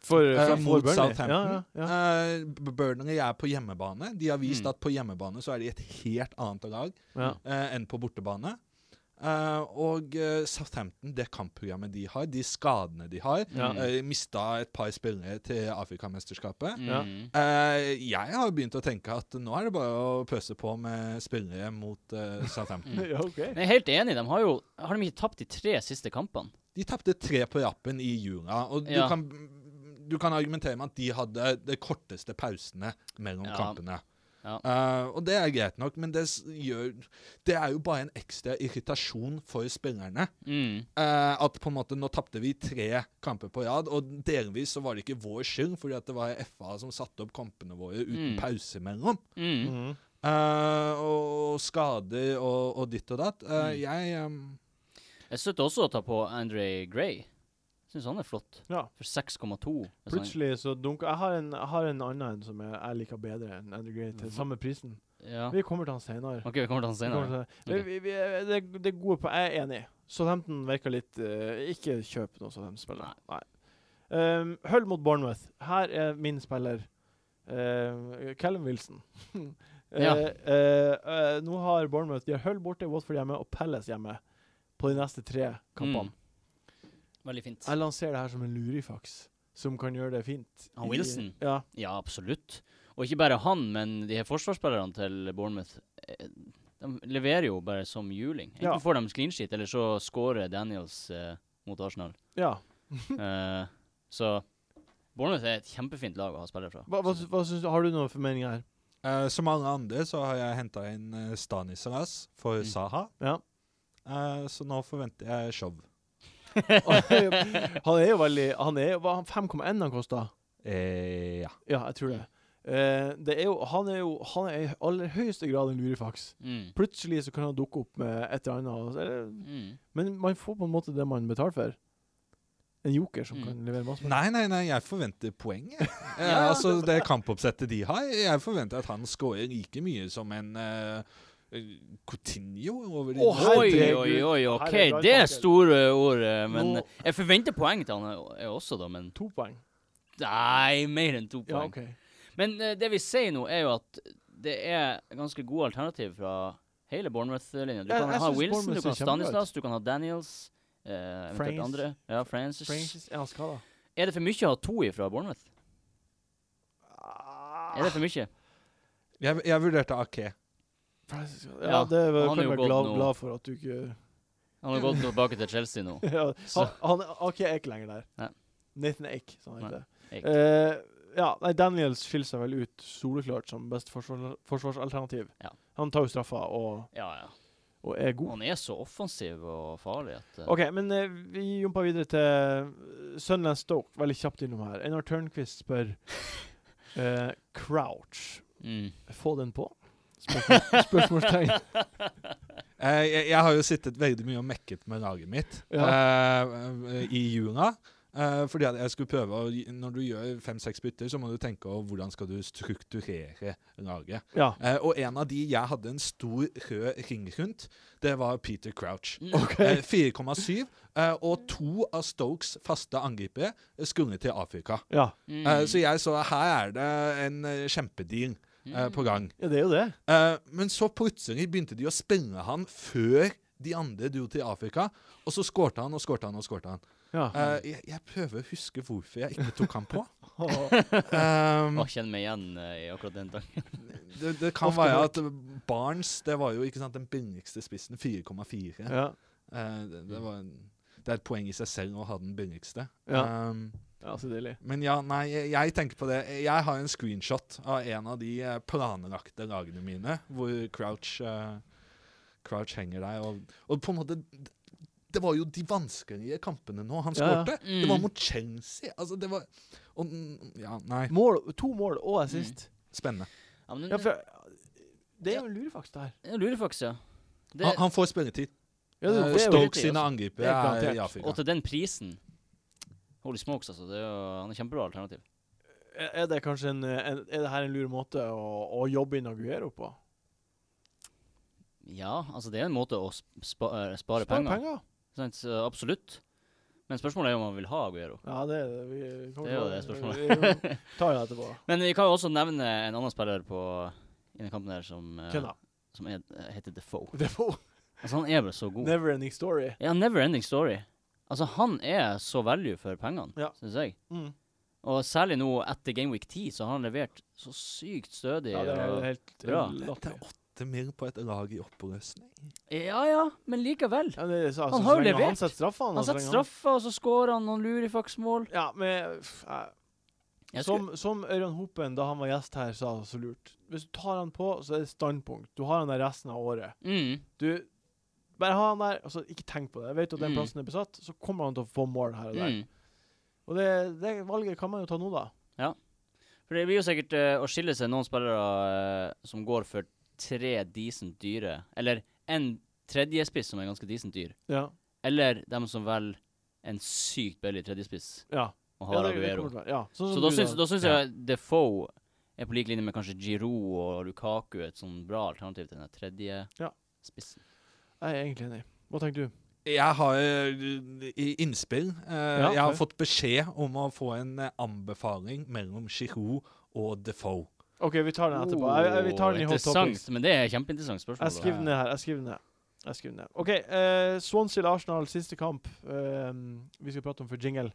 For,
eh,
for
mot
Burnley.
Southampton.
Ja, ja, ja.
Eh, B- Burnley er på hjemmebane. De har vist
Mm.
at på hjemmebane så er de et helt annet lag
ja.
eh, enn på bortebane. Eh, og eh, Southampton, det kampprogrammet de har, de skadene de har
Ja.
Mm.
eh, Mista et par spillere til Afrikamesterskapet.
Ja.
Mhm.
Eh, jeg har begynt å tenke at nå er det bare å pøse på med spillere mot
Mm.
eh, Southampton.
ja, OK.
Men Jeg er helt enig. De har jo Har de ikke tapt de tre siste kampene?
De tapte tre på rappen i jula, og du,
Ja.
kan, du kan argumentere med at de hadde de korteste pausene mellom
Ja.
kampene.
Ja.
Eh, og det er greit nok, men det, s- gjør, det er jo bare en ekstra irritasjon for spillerne.
Mm.
Eh, at på en måte nå tapte vi tre kamper på rad, og delvis så var det ikke vår skyld, fordi at det var FA som satte opp kampene våre uten
Mm.
pause imellom.
Mm.
Mhm.
Eh, og skader og, og ditt og datt. Eh,
Mm.
Jeg ehm,
Jeg støtter også å ta på Andre Gray. Syns han er flott.
Ja.
For 6,2. hvis han-
Plutselig så dunker Jeg har en, jeg har en annen en som jeg, jeg liker bedre enn Andrew Gray, til samme prisen.
Ja.
Vi kommer til han senere.
OK, vi kommer til
Vi
han senere.
kommer til det. Vi- vi- vi- det, det gode på Jeg er enig. Southampton virker litt eh, Ikke kjøp noe Southampton-spiller. Nei. Um, Hull mot Bournemouth. Her er min spiller eh, Callum Wilson. Eh,
Ja.
eh, eh, nå har Bournemouth De har Hull borte, Watford hjemme og Palace hjemme på de neste tre kampene.
Mm. Veldig fint.
Jeg lanserer det her som en lurifaks som kan gjøre det fint.
Han
i-
Wilson?
Ja.
Ja, absolutt. Og ikke bare han, men de her forsvarsspillerne til Bournemouth eh, De leverer jo bare som juling. Enten
Ja.
får de clean sheet, eller så scorer Daniels eh, mot Arsenal.
ja.
Eh, så Bournemouth er et kjempefint lag å ha spillere fra.
Hva, hva, sy- hva syns du? Har du noen formeninger her?
eh, som alle andre så har jeg henta inn eh, Stanislas for
Mm.
Saha.
Ja.
Eh, så nå forventer jeg show.
han er jo veldig Han er jo hva- han 5,1 han kosta.
Eh, ja.
Ja, jeg tror det. Eh, det er jo, han er jo han er i aller høyeste grad en lurifaks.
Mm.
Plutselig så kan han dukke opp med et eller annet. og så er det-
Mm.
Men man får på en måte det man betaler for. En joker som
Mm.
kan levere masse.
Nei, nei, nei, jeg forventer poeng, jeg. Eh,
Ja.
altså, det kampoppsettet de har, jeg forventer at han scorer like mye som en eh, Coutinho over de
Å,
Oi,
herregud.
oi, oi. OK,
Her er
det
Dye
er
Parker.
store ord. eh, Men
Nå-
jeg forventer poeng til han eh, også, da. Men
To poeng.
Nei, mer enn to
Ja,
poeng.
OK.
Men eh, det vi sier nå, er jo at det er ganske gode alternativ fra hele Bournemouth-linja. Du
Jeg-
kan
jeg
ha
synes
Wilson, du
Bournemouth
kan ha
ser kjempebra ut.
Stanislas, du kan ha Daniels. eh, eventuelt
Francis.
andre. Ja, Francis.
Francis er han skada?
Er det for mye å ha to ifra Bournemouth? Er det for mye?
Jeg, jeg vurderte Ake.
Francis, ja,
Ja,
det er,
han
jeg
er
kan
jo
være
gått
glad,
nå.
glad for at du ikke
Han har gått tilbake til Chelsea nå.
ja,
Så-
han, han OK, er ikke lenger der.
Nei.
Nathan Ake, sa han
Nei,
heter.
Ake.
Eh, ja, nei, Daniels skiller seg vel ut soleklart som best forsvar, forsvarsalternativ.
Ja.
Han tar jo straffa og,
Ja, ja.
og er god.
Han er så offensiv og farlig at eh,
OK, men eh, vi jumper videre eh, til Sunland Stoke, veldig kjapt innom her. Einar Tørnquist spør eh, Crouch.
mm.
Få den på? Spørsmål- Spørsmålstegn.
Eh, jeg, jeg har jo sittet veldig mye og mekket med laget mitt eh, i jula. Eh, fordi at jeg skulle prøve å, Når du gjør fem-seks bytter, så må du tenke over hvordan skal du strukturere laget.
ja.
Eh, og en av de jeg hadde en stor rød ring rundt, det var Peter Crouch. Eh, 4,7. eh, og to av Stokes faste angripere skulle til Afrika.
Ja.
Mm.
Eh, så jeg så her er det en eh, kjempedeal eh, på gang.
ja, det er jo det.
Eh, men så plutselig begynte de å spille han før de andre dro til Afrika. Og så skårte han og skårte han og skårte han.
Ja.
Eh, jeg, jeg prøver å huske hvorfor jeg ikke tok han på.
Og-
Um,
Mm.
Å, kjenn meg igjen eh, i akkurat den dagen.
det, det kan
Ofte
være at Barnes det var jo ikke sant, den billigste spissen. 4,4.
ja.
Eh, det, det, var en, det er et poeng i seg selv å ha den billigste.
Ja.
Um,
ja, så deilig.
men ja, nei, jeg, jeg tenker på det. Jeg har en screenshot av en av de eh, planlagte lagene mine, hvor Crouch, eh, Crouch henger der. Og, og på en måte Det var jo de vanskelige kampene nå han
Ja, ja.
skårte.
Mm.
Det var mot Chelsea. Altså, det var og, mm, Ja, nei.
Mål, to mål og assist.
Spennende.
Ja, men,
Ja, for, det er jo en lurefaks, det her.
Ja, Lurefaks, ja. Det,
Han, han får spilletid.
Ja, det,
Eh,
det er jo
Stoke
riktig,
sine
altså.
Det
angripere
er
er,
garantert.
i Afrika.
og til den prisen Holy smokes, altså. Det er jo, han er kjempebra alternativ.
Er er det kanskje en, eh, en Er det her en lur måte å, å jobbe inn Aguero på?
Ja, altså det er en måte å sp spa eh, spare
Spare
penger. Sant? Så absolutt. Men spørsmålet er jo om han vil ha Aguero.
Ja, det er det. Vi, vi kommer
Det er jo
til-
det spørsmålet.
Vi, vi tar det etterpå.
Men vi kan jo også nevne en annen spiller på i den kampen her som, eh,
Kødda.
som er, eh, heter Defoe.
Det var
Altså han er bare så god.
never ending story.
Ja, never ending story. Altså han er så value for pengene,
Ja.
synes jeg.
Mm.
Og særlig nå etter Gameweek 10 så har han levert så sykt stødig.
Ja, det er jo
og-
helt
Bra.
Det
latterlig.
er åtte mil på et lag i oppløsning.
ja, ja, men likevel.
Ja, det er så- altså,
Han har jo
så lenge
levert.
Han setter straffa.
Han setter straffer, og så scorer han noen lurifaksmål.
Ja, men pff, eh,
Jeg
som,
skulle-
som Ørjan Hopen, da han var gjest her, sa så lurt Hvis du tar han på, så er det standpunkt. Du har han der resten av året.
mm.
Du bare ha han der, altså ikke tenk på det. Jeg vet at den
Mm.
plassen er besatt, så kommer han til å få mål her og der.
Mm.
Og det, det valget kan man jo ta nå, da.
For det blir jo sikkert eh, å skille seg noen spillere eh, som går for tre decent dyre, eller en tredjespiss som er ganske decent dyr,
Ja.
eller dem som velger en sykt billig tredjespiss
ja.
og har
det- det
Aguero.
kommer til å være- Ja, sånn som
Så da
du da.
syns, da syns jeg Defoe er på lik linje med kanskje Giroud og Lukaku, et sånn bra alternativ til den der tredje
Ja.
spissen.
Jeg er egentlig enig. Hva tenker du?
Jeg har eh, i- innspill. Eh, jeg har
ok.
fått beskjed om å få en eh, anbefaling mellom Giroud og Defoe.
OK, vi tar den etterpå. Jeg, jeg, vi tar den i
Oh,
hot topics.
Interessant, men det er et kjempeinteressant spørsmål.
Jeg
da.
skriver den ned her. Jeg skriver den ned. Jeg skriver den ned. OK. eh, Swansea-Arsenal, siste kamp eh, vi skal prate om for jingle.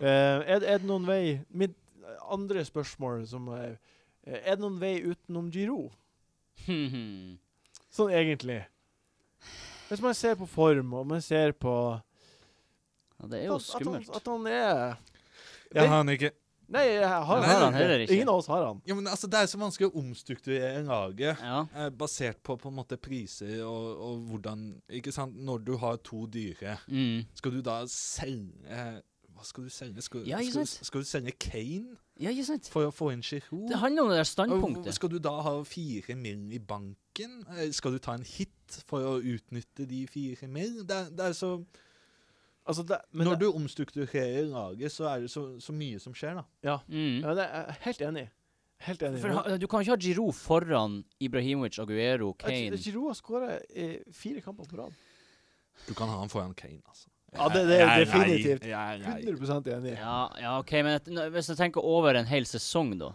Eh, er, det- er det noen vei Mitt andre spørsmål som er eh, Er det noen vei utenom Giro?
Hmm,
Sånn egentlig. Hvis man ser på form, og man ser på
ja, det
at,
er jo
at, han,
skummelt.
at han er
Jeg har den ikke.
Nei, jeg har
Nei, han heller
ikke.
ikke. Mm.
Ingen av oss har han.
Ja, men altså, det er så vanskelig å omstrukturere laget
Ja.
eh, basert på på en måte priser og, og hvordan Ikke sant? Når du har to dyre,
Mm.
skal du da selge eh, Hva skal du selge? Skal,
Ja, ikke
skal,
sant?
du- skal du selge Kane
ja, ikke sant?
for å få inn Giroud?
Oh.
Det handler om det der
Og
standpunktet.
Skal du da ha fire mill. i banken? Eh, Skal du ta en hit for å utnytte de fire mill.? Det, er- det er så
Altså, det, men
Når
det-
du omstrukturerer laget, så er det så, så mye som skjer, da.
Mm.
oh, ja, det er jeg helt enig. i. Helt enig.
For ha- du kan ikke ha Giroud foran Ibrahimovic, Aguero,
Kane.
Kane.
Giroud har skåra fire kamper på rad.
Du kan ha han foran Kane, altså.
Ja, det, det er
Jeg
jo definitivt.
Jeg er lei.
100 enig.
Ja, ja, OK, men et, nå- hvis jeg tenker over en hel sesong, da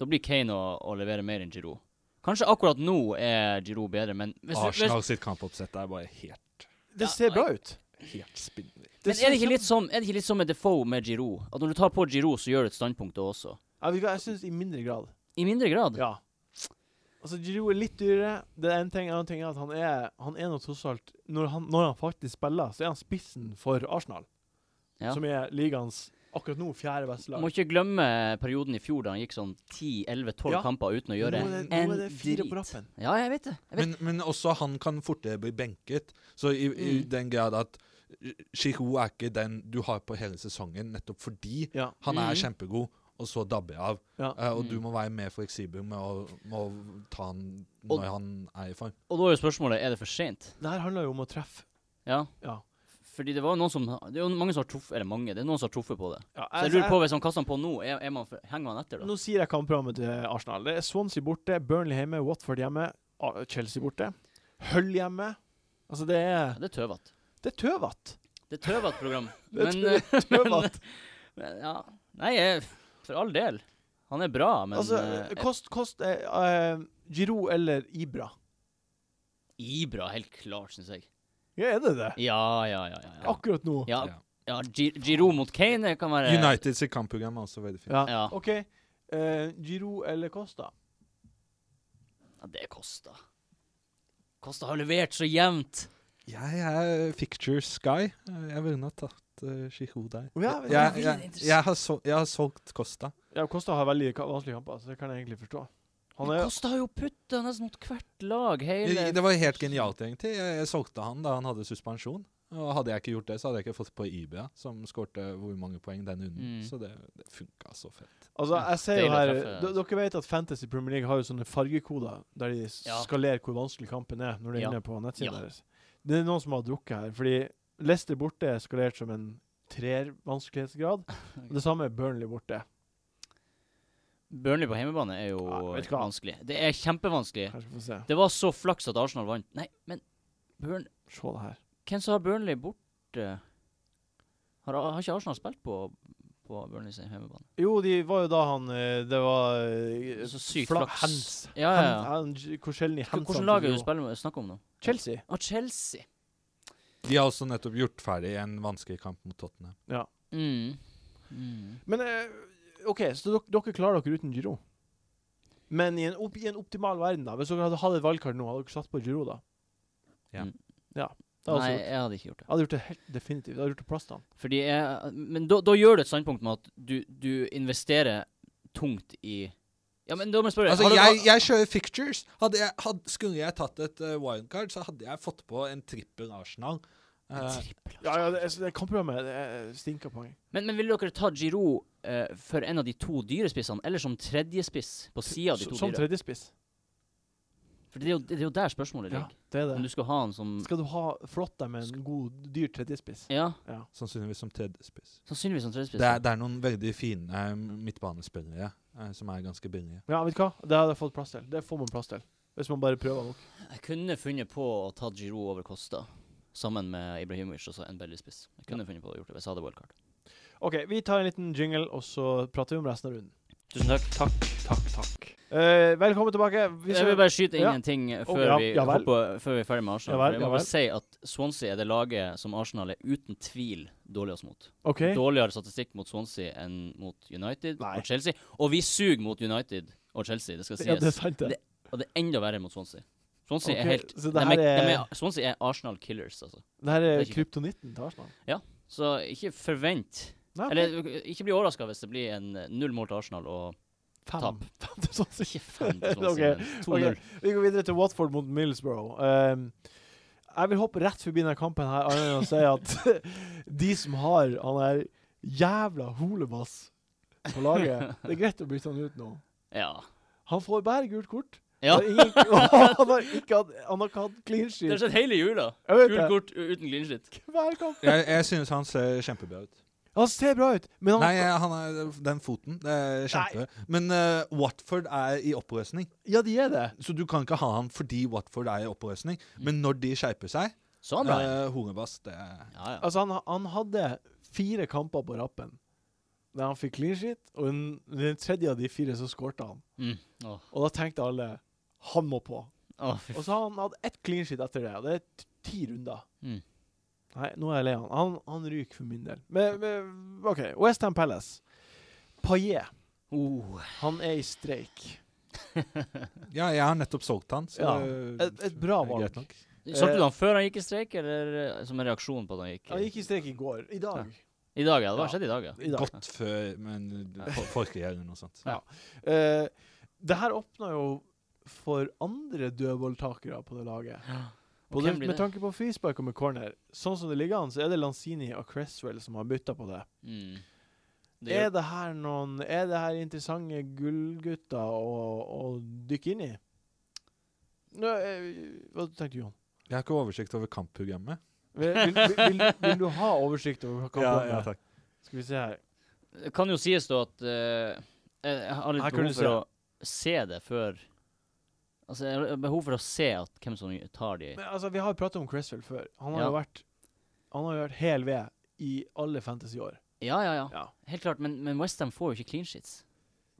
Da blir Kane å, å levere mer enn Giroud. Kanskje akkurat nå er Giroud bedre, men hvis, du- hvis,
Arsenal sitt kampoppsett er bare helt,
Det ser bra ut.
helt spinnvilt.
Men er
liksom?
det ikke litt sånn, er det ikke litt sånn med Defoe med Giroud? At når du tar på Giroud, så gjør du et standpunkt da også?
Ja, vet du hva, Jeg syns i mindre grad.
I mindre grad.
Ja. Altså, Giroud er litt dyrere. Det er en ting, en annen ting er at han er Han er noe tross alt når han, når han faktisk spiller, så er han spissen for Arsenal.
Ja.
Som er ligaens akkurat nå fjerde beste lag.
Må ikke glemme perioden i fjor da han gikk sånn 10-11-12
Ja.
kamper uten å
Nå
gjøre
er det, nå
en
er det fire på
drit.
rappen.
Ja, jeg vet det. Jeg vet.
Men, men også han kan fortere bli benket. Så i, i
Mm.
den grad at Giroud er ikke den du har på hele sesongen, nettopp fordi
Ja.
han er
Mhm.
kjempegod, og så dabber jeg av.
Ja.
Eh, og
Mm.
du må være mer fleksibel med å, med å ta han
Og-
når han er i form.
Og da er jo spørsmålet er det for sent.
Det her handler jo om å treffe.
Ja.
Ja.
Fordi det var jo noen som Det er jo mange som har truffet Eller mange, det er noen som har truffet på det.
Ja,
Så jeg
altså,
lurer på hvis han kaster den på nå, er, er man for, henger han etter da?
Nå sier jeg kampprogrammet til Arsenal. Det er Swansea borte, Burnley hjemme, Watford hjemme, Ar- Chelsea borte. Hull hjemme. Altså, det
Ja,
er
det er tøvete.
Det er tøvete.
Det er tøvete program.
Det er
Men,
tø-
eh, men,
Tøvete.
men ja. Nei, jeg, for all del. Han er bra, men
Altså,
eh,
kost, kost eh, eh, Giroud eller Ibra.
Ibra helt klart, syns jeg.
Ja, er det det?
Ja, ja, ja. ja, ja.
Akkurat nå.
ja,
Ja.
ja Gi- Giroud mot Kane kan være
United sitt kampprogram er også veldig fint.
Ja.
Ja.
OK. Eh, Giroud eller Costa?
Ja, det er Costa. Costa har levert så jevnt.
Jeg er Ficture Sky. Eh, Jeg ville ha tatt uh, Giroud der.
Å, ja, vet du,
jeg,
det er
jeg, jeg, har sol- jeg har solgt Costa.
Ja, Costa har veldig ka vanskelige kamper, så det kan jeg egentlig forstå. Han
Men
er
Costa har jo putta nesten mot hvert lag hele
Jeg- Det var helt genialt, egentlig. Jeg, jeg solgte han da han hadde suspensjon. Og Hadde jeg ikke gjort det, så hadde jeg ikke fått på Ibia, som skårte hvor mange poeng den runden.
Mm.
Så det, det funka så fett.
Altså,
Ja,
jeg ser jo
deilig å
her
treffe.
d- Dere vet at Fantasy Premier League har jo sånne fargekoder der de s-
Ja.
skalerer hvor vanskelig kampen er, når de er
Ja.
inne på nettsiden
Ja.
deres. Det er noen som har drukket her, fordi Leicester borte er skalert som en treer vanskelighetsgrad. Og det samme er Burnley borte.
Burnley på hjemmebane er jo
Ja, vet du hva?
vanskelig. Det er kjempevanskelig.
Kanskje vi får se.
Det var så flaks at Arsenal vant. Nei, men Burn
Se det her.
Hvem som har Burnley borte? Har, har ikke Arsenal spilt på, på Burnley sin hjemmebane?
Jo, de var jo da han eh, Det var eh,
Så Altså sykt
Fla-
flaks.
Hans.
Ja, ja, ja.
Han, han, hvor sjelden i
Hvilke-
handsene
Hvilket lag er
til
det du
Giroud.
spiller med, snakker om nå?
Chelsea.
Ah, Chelsea.
De har også nettopp gjort ferdig en vanskelig kamp mot Tottenham.
Mm. Mm.
Men eh, OK, så dere, dere klarer dere uten Giroud. Men i en, opp, i en optimal verden, da hvis dere hadde hatt et valgkart nå, hadde dere satt på Giroud da?
Ja.
Mm.
ja. Det hadde
Nei,
jeg også gjort.
jeg hadde ikke gjort det.
Jeg hadde gjort det helt definitivt. Jeg hadde gjort det plass til han.
Fordi jeg, men da, da gjør du et standpunkt med at du, du investerer tungt i Ja, men da må jeg spørre
Altså,
har dere-
jeg, jeg kjører fictures. Hadde jeg, had, skulle jeg tatt et eh, wildcard, så hadde jeg fått på en trippel Arsenal. Eh,
Ja, ja, det, det kampprogrammet det er eh, stinker poeng.
Men, men ville dere ta Giroud eh, for en av de to dyrespissene, eller som tredjespiss på sida av de to
Som
dyre?
tredjespiss.
For det er, jo, det er jo der spørsmålet
Ja,
ligger.
det er
Om
det.
du skal ha han som
Skal du ha flott deg med en god, dyr tredjespiss?
Ja,
Ja.
sannsynligvis som tredjespiss.
sannsynligvis som tredjespiss.
Det, er- det er noen veldig fine eh, midtbanespillere eh, som er ganske billige.
ja, vet du hva? Det hadde jeg fått plass til. Det får man plass til. Hvis man bare prøver nok.
Jeg kunne funnet på å ta Giroud over Costa. Sammen med Ibrahimovic og så en Belly-spiss. Jeg kunne funnet på å gjort det hvis jeg hadde wildcard.
OK, vi tar en liten jingle, og så prater vi om resten av runden.
Tusen takk.
Takk, takk, takk. Eh, velkommen tilbake. Vi
jeg vil
skal-
bare skyte inn
Ja.
en ting eh,
Ok,
før,
ja,
vi
ja vel.
hopper, før vi er ferdig med Arsenal.
Ja vel,
For jeg
ja
må bare
vel.
si at Swansea er det laget som Arsenal er uten tvil dårligst mot.
OK.
Dårligere statistikk mot Swansea enn mot United
Nei.
og Chelsea. Og vi suger mot United og Chelsea, det skal sies.
Ja, det er sant, det.
og det er enda verre mot Swansea. Swansea
Ok,
er helt
så det
de
her
er, de
er-
er, Swansea er Arsenal killers, altså.
Det her
Det
er
er ikke
kryptonitten til Arsenal.
Så ikke forvent
Nei, ok.
Eller ø, ikke bli overraska hvis det blir en eh, null mål til Arsenal og
Fem.
tap.
Fem til Swansea.
Ikke fem til sånn
Ok,
Swansea, men 2-0.
ok. Vi går videre til Watford mot Middlesbrough. Um, jeg vil hoppe rett forbi denne kampen her, annet enn å si at de som har han der jævla holebass på laget Det er greit å bytte han ut nå.
Ja.
Han får bare gult kort.
ja.
Han, har ingen, han, har ikke hatt, han har ikke hatt clean
Det har
sheet.
skjedd hele jula.
Jeg vet
Gult
det.
kort ø, uten cleanshit.
Hver kamp.
Jeg, jeg synes han ser kjempebra ut.
Han ser bra ut, men han
Nei, han er den foten. Det er kjempe. Men eh, Watford er i oppløsning,
Ja, de er det. Mm.
så du kan ikke ha han fordi Watford er i oppløsning. Men når de skjerper seg,
Sa han Brian?
Eh, Horebass, det er
Sånn, Ja, ja.
Altså, han, han hadde fire kamper på rappen der han fikk clean sheet, og den, den tredje av de fire så skårte han.
Mm. Åh,
Og da tenkte alle han må på.
åh, fy
Og så har han hatt ett clean sheet etter det, og det er t- ti runder.
Mm.
Nei, nå er jeg lei han. Han, han ryker for min del. Men, men OK, Westham Palace. Paillet,
Oh.
han er i streik.
Ja, jeg har nettopp solgt han, så
Ja,
det-
Et, et bra
det er greit
valg.
nok.
Solgte
Eh,
du han før han gikk i streik, eller eh, som en reaksjon på at han gikk?
Han gikk i streik i går. I dag.
I dag, ja. Det
Ja.
var skjedd i dag, ja.
I dag.
Godt før, men folkegjerde noe sånt.
Ja.
Eh, det her åpna jo for andre dødballtakere på det laget.
Og
Både
hvem blir
med
det?
tanke på frispark og med corner. Sånn som det ligger an, så er det Lanzini og Cresswell som har bytta på det.
Mm. Det
Er
gjør,
det her noen Er det her interessante gullgutter å, å dykke inn i? Nå, eh, hva tenkte du, Jon?
Jeg har ikke oversikt over kampprogrammet.
Vil, vil, vil, vil, vil du ha oversikt over hva kampene er?
takk.
Skal vi se her.
det kan jo sies da at eh, jeg- Jeg har
Her
litt
kunne
behov
du
for å se det før Altså, jeg har behov for å se at hvem som tar de
Men altså, vi har jo pratet om Cresswell før. Han har
Ja.
jo vært Han har jo vært hel ved i alle fantasy-år.
Ja, ja, ja.
Ja.
Helt klart. Men, men Westham får jo ikke clean sheets.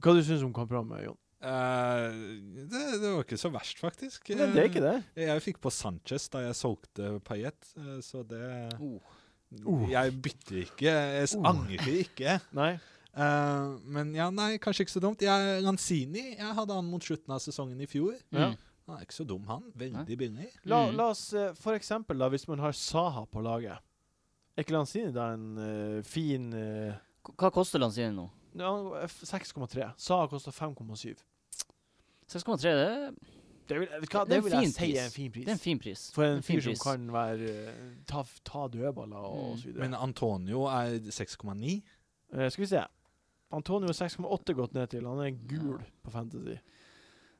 Hva du syns du om kampprogrammet, Jon?
Eh, det, det var ikke så verst, faktisk. Eh,
Nei, det er ikke det.
Jeg fikk på Sanchez da jeg solgte Payet, eh, så det
Oh.
Uh.
Jeg bytter ikke. Jeg s-
Uh.
angrer ikke.
Nei.
Eh, men ja, nei, kanskje ikke så dumt. Jeg, Lanzini jeg hadde han mot slutten av sesongen i fjor.
Ja.
Mm.
Han er ikke så dum, han. Veldig billig.
La,
Mm.
la oss eh, for eksempel, da, hvis man har Saha på laget. Er ikke Lanzini da en eh, fin eh,
K- Hva koster Lanzini nå?
ja, f- 6,3. Saha koster 5,7.
6,3, det, er-
Det vil, vet du hva,
Det er
det
en
vil jeg
fin
si er en
pris.
fin
det er en
pris.
fin pris.
For en
En fin
fyr som
pris.
kan være eh, ta, f- ta dødballer og, og
Mm.
så videre.
Men Antonio er 6,9.
Eh, skal vi se. Antonio er 6,8 gått ned til. Han er gul på Fantasy. Jeg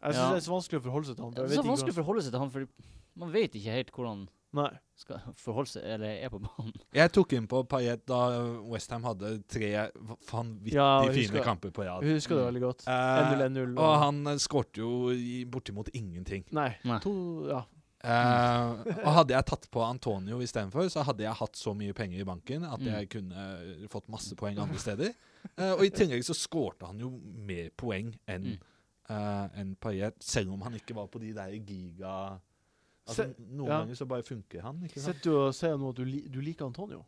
syns
Ja.
det er så vanskelig å forholde seg til han.
Det
for
er
jeg vet
så
ikke
vanskelig å
hvordan-
forholde seg til han, for man vet ikke helt hvordan
Nei.
skal forholde seg, eller er på banen.
Jeg tok inn på Payet da Westham hadde tre vanvittig
Ja, jeg
fine
husker-
kamper på rad.
Jeg husker det
Mm.
veldig godt.
Eh,
1-0, 1-0.
og han eh, skårte jo i bortimot ingenting.
Nei.
Nei.
To Ja.
Eh, og hadde jeg tatt på Antonio istedenfor, så hadde jeg hatt så mye penger i banken at
Mm.
jeg kunne eh, fått masse poeng andre steder. Eh, og i tillegg så skårte han jo mer poeng enn
Mm.
eh, enn Payet, selv om han ikke var på de der giga Altså,
Se-
Noen
ja.
ganger så bare funker han, ikke sant?
Sitter du og sier nå at du, li du liker Antonio?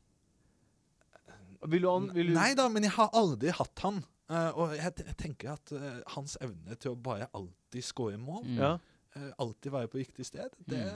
Vil du an... Sånn Vil du
Nei da, men jeg har aldri hatt han. Eh, og jeg, t jeg tenker at eh, hans evne til å bare alltid skåre mål,
Mm.
Ja.
eh, alltid være på riktig sted, det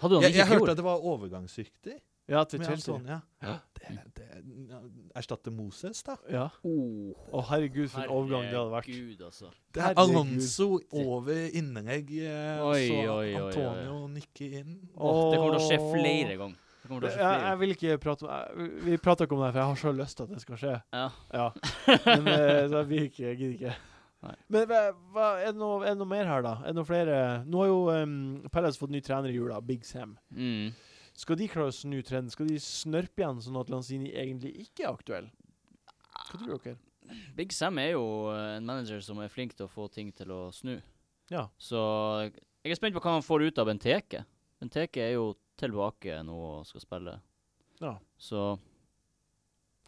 Hadde han
Jeg,
ikke
jeg
Sånn i
hørte
fjor?
at det var overgangsrykter.
ja, til
med
Chelsea.
Antonia.
Ja.
Det, det, ja, erstatte Moses, da.
Ja.
Oh,
Å, herregud, for en overgang det hadde vært.
Herregud, altså.
Det er
Herregud.
Alonso over innlegg, eh,
Oi,
så
oi, oi, oi.
Antonio nikker inn.
Åh, det kommer til å skje
Åh.
flere ganger. Det kommer til å
Jeg,
skje flere.
jeg vil ikke prate om jeg, Vi prater ikke om det, her, for jeg har så lyst til at det skal skje.
Ja.
Ja. Men eh, så jeg vil ikke, jeg gidder ikke.
Nei.
Men hva- hva, er, det noe, er det noe mer her, da? Er det noe flere? Nå har jo um, Palace fått ny trener i jula, Big Sam.
Mm.
Skal de klare å snu trenden? Skal de snørpe igjen, sånn at Lanzini egentlig ikke er aktuell? Hva tror dere?
Big Sam er jo eh, en manager som er flink til å få ting til å snu.
Ja.
Så jeg er spent på hva han får ut av Benteke. Benteke er jo tilbake nå og skal spille.
Ja.
Så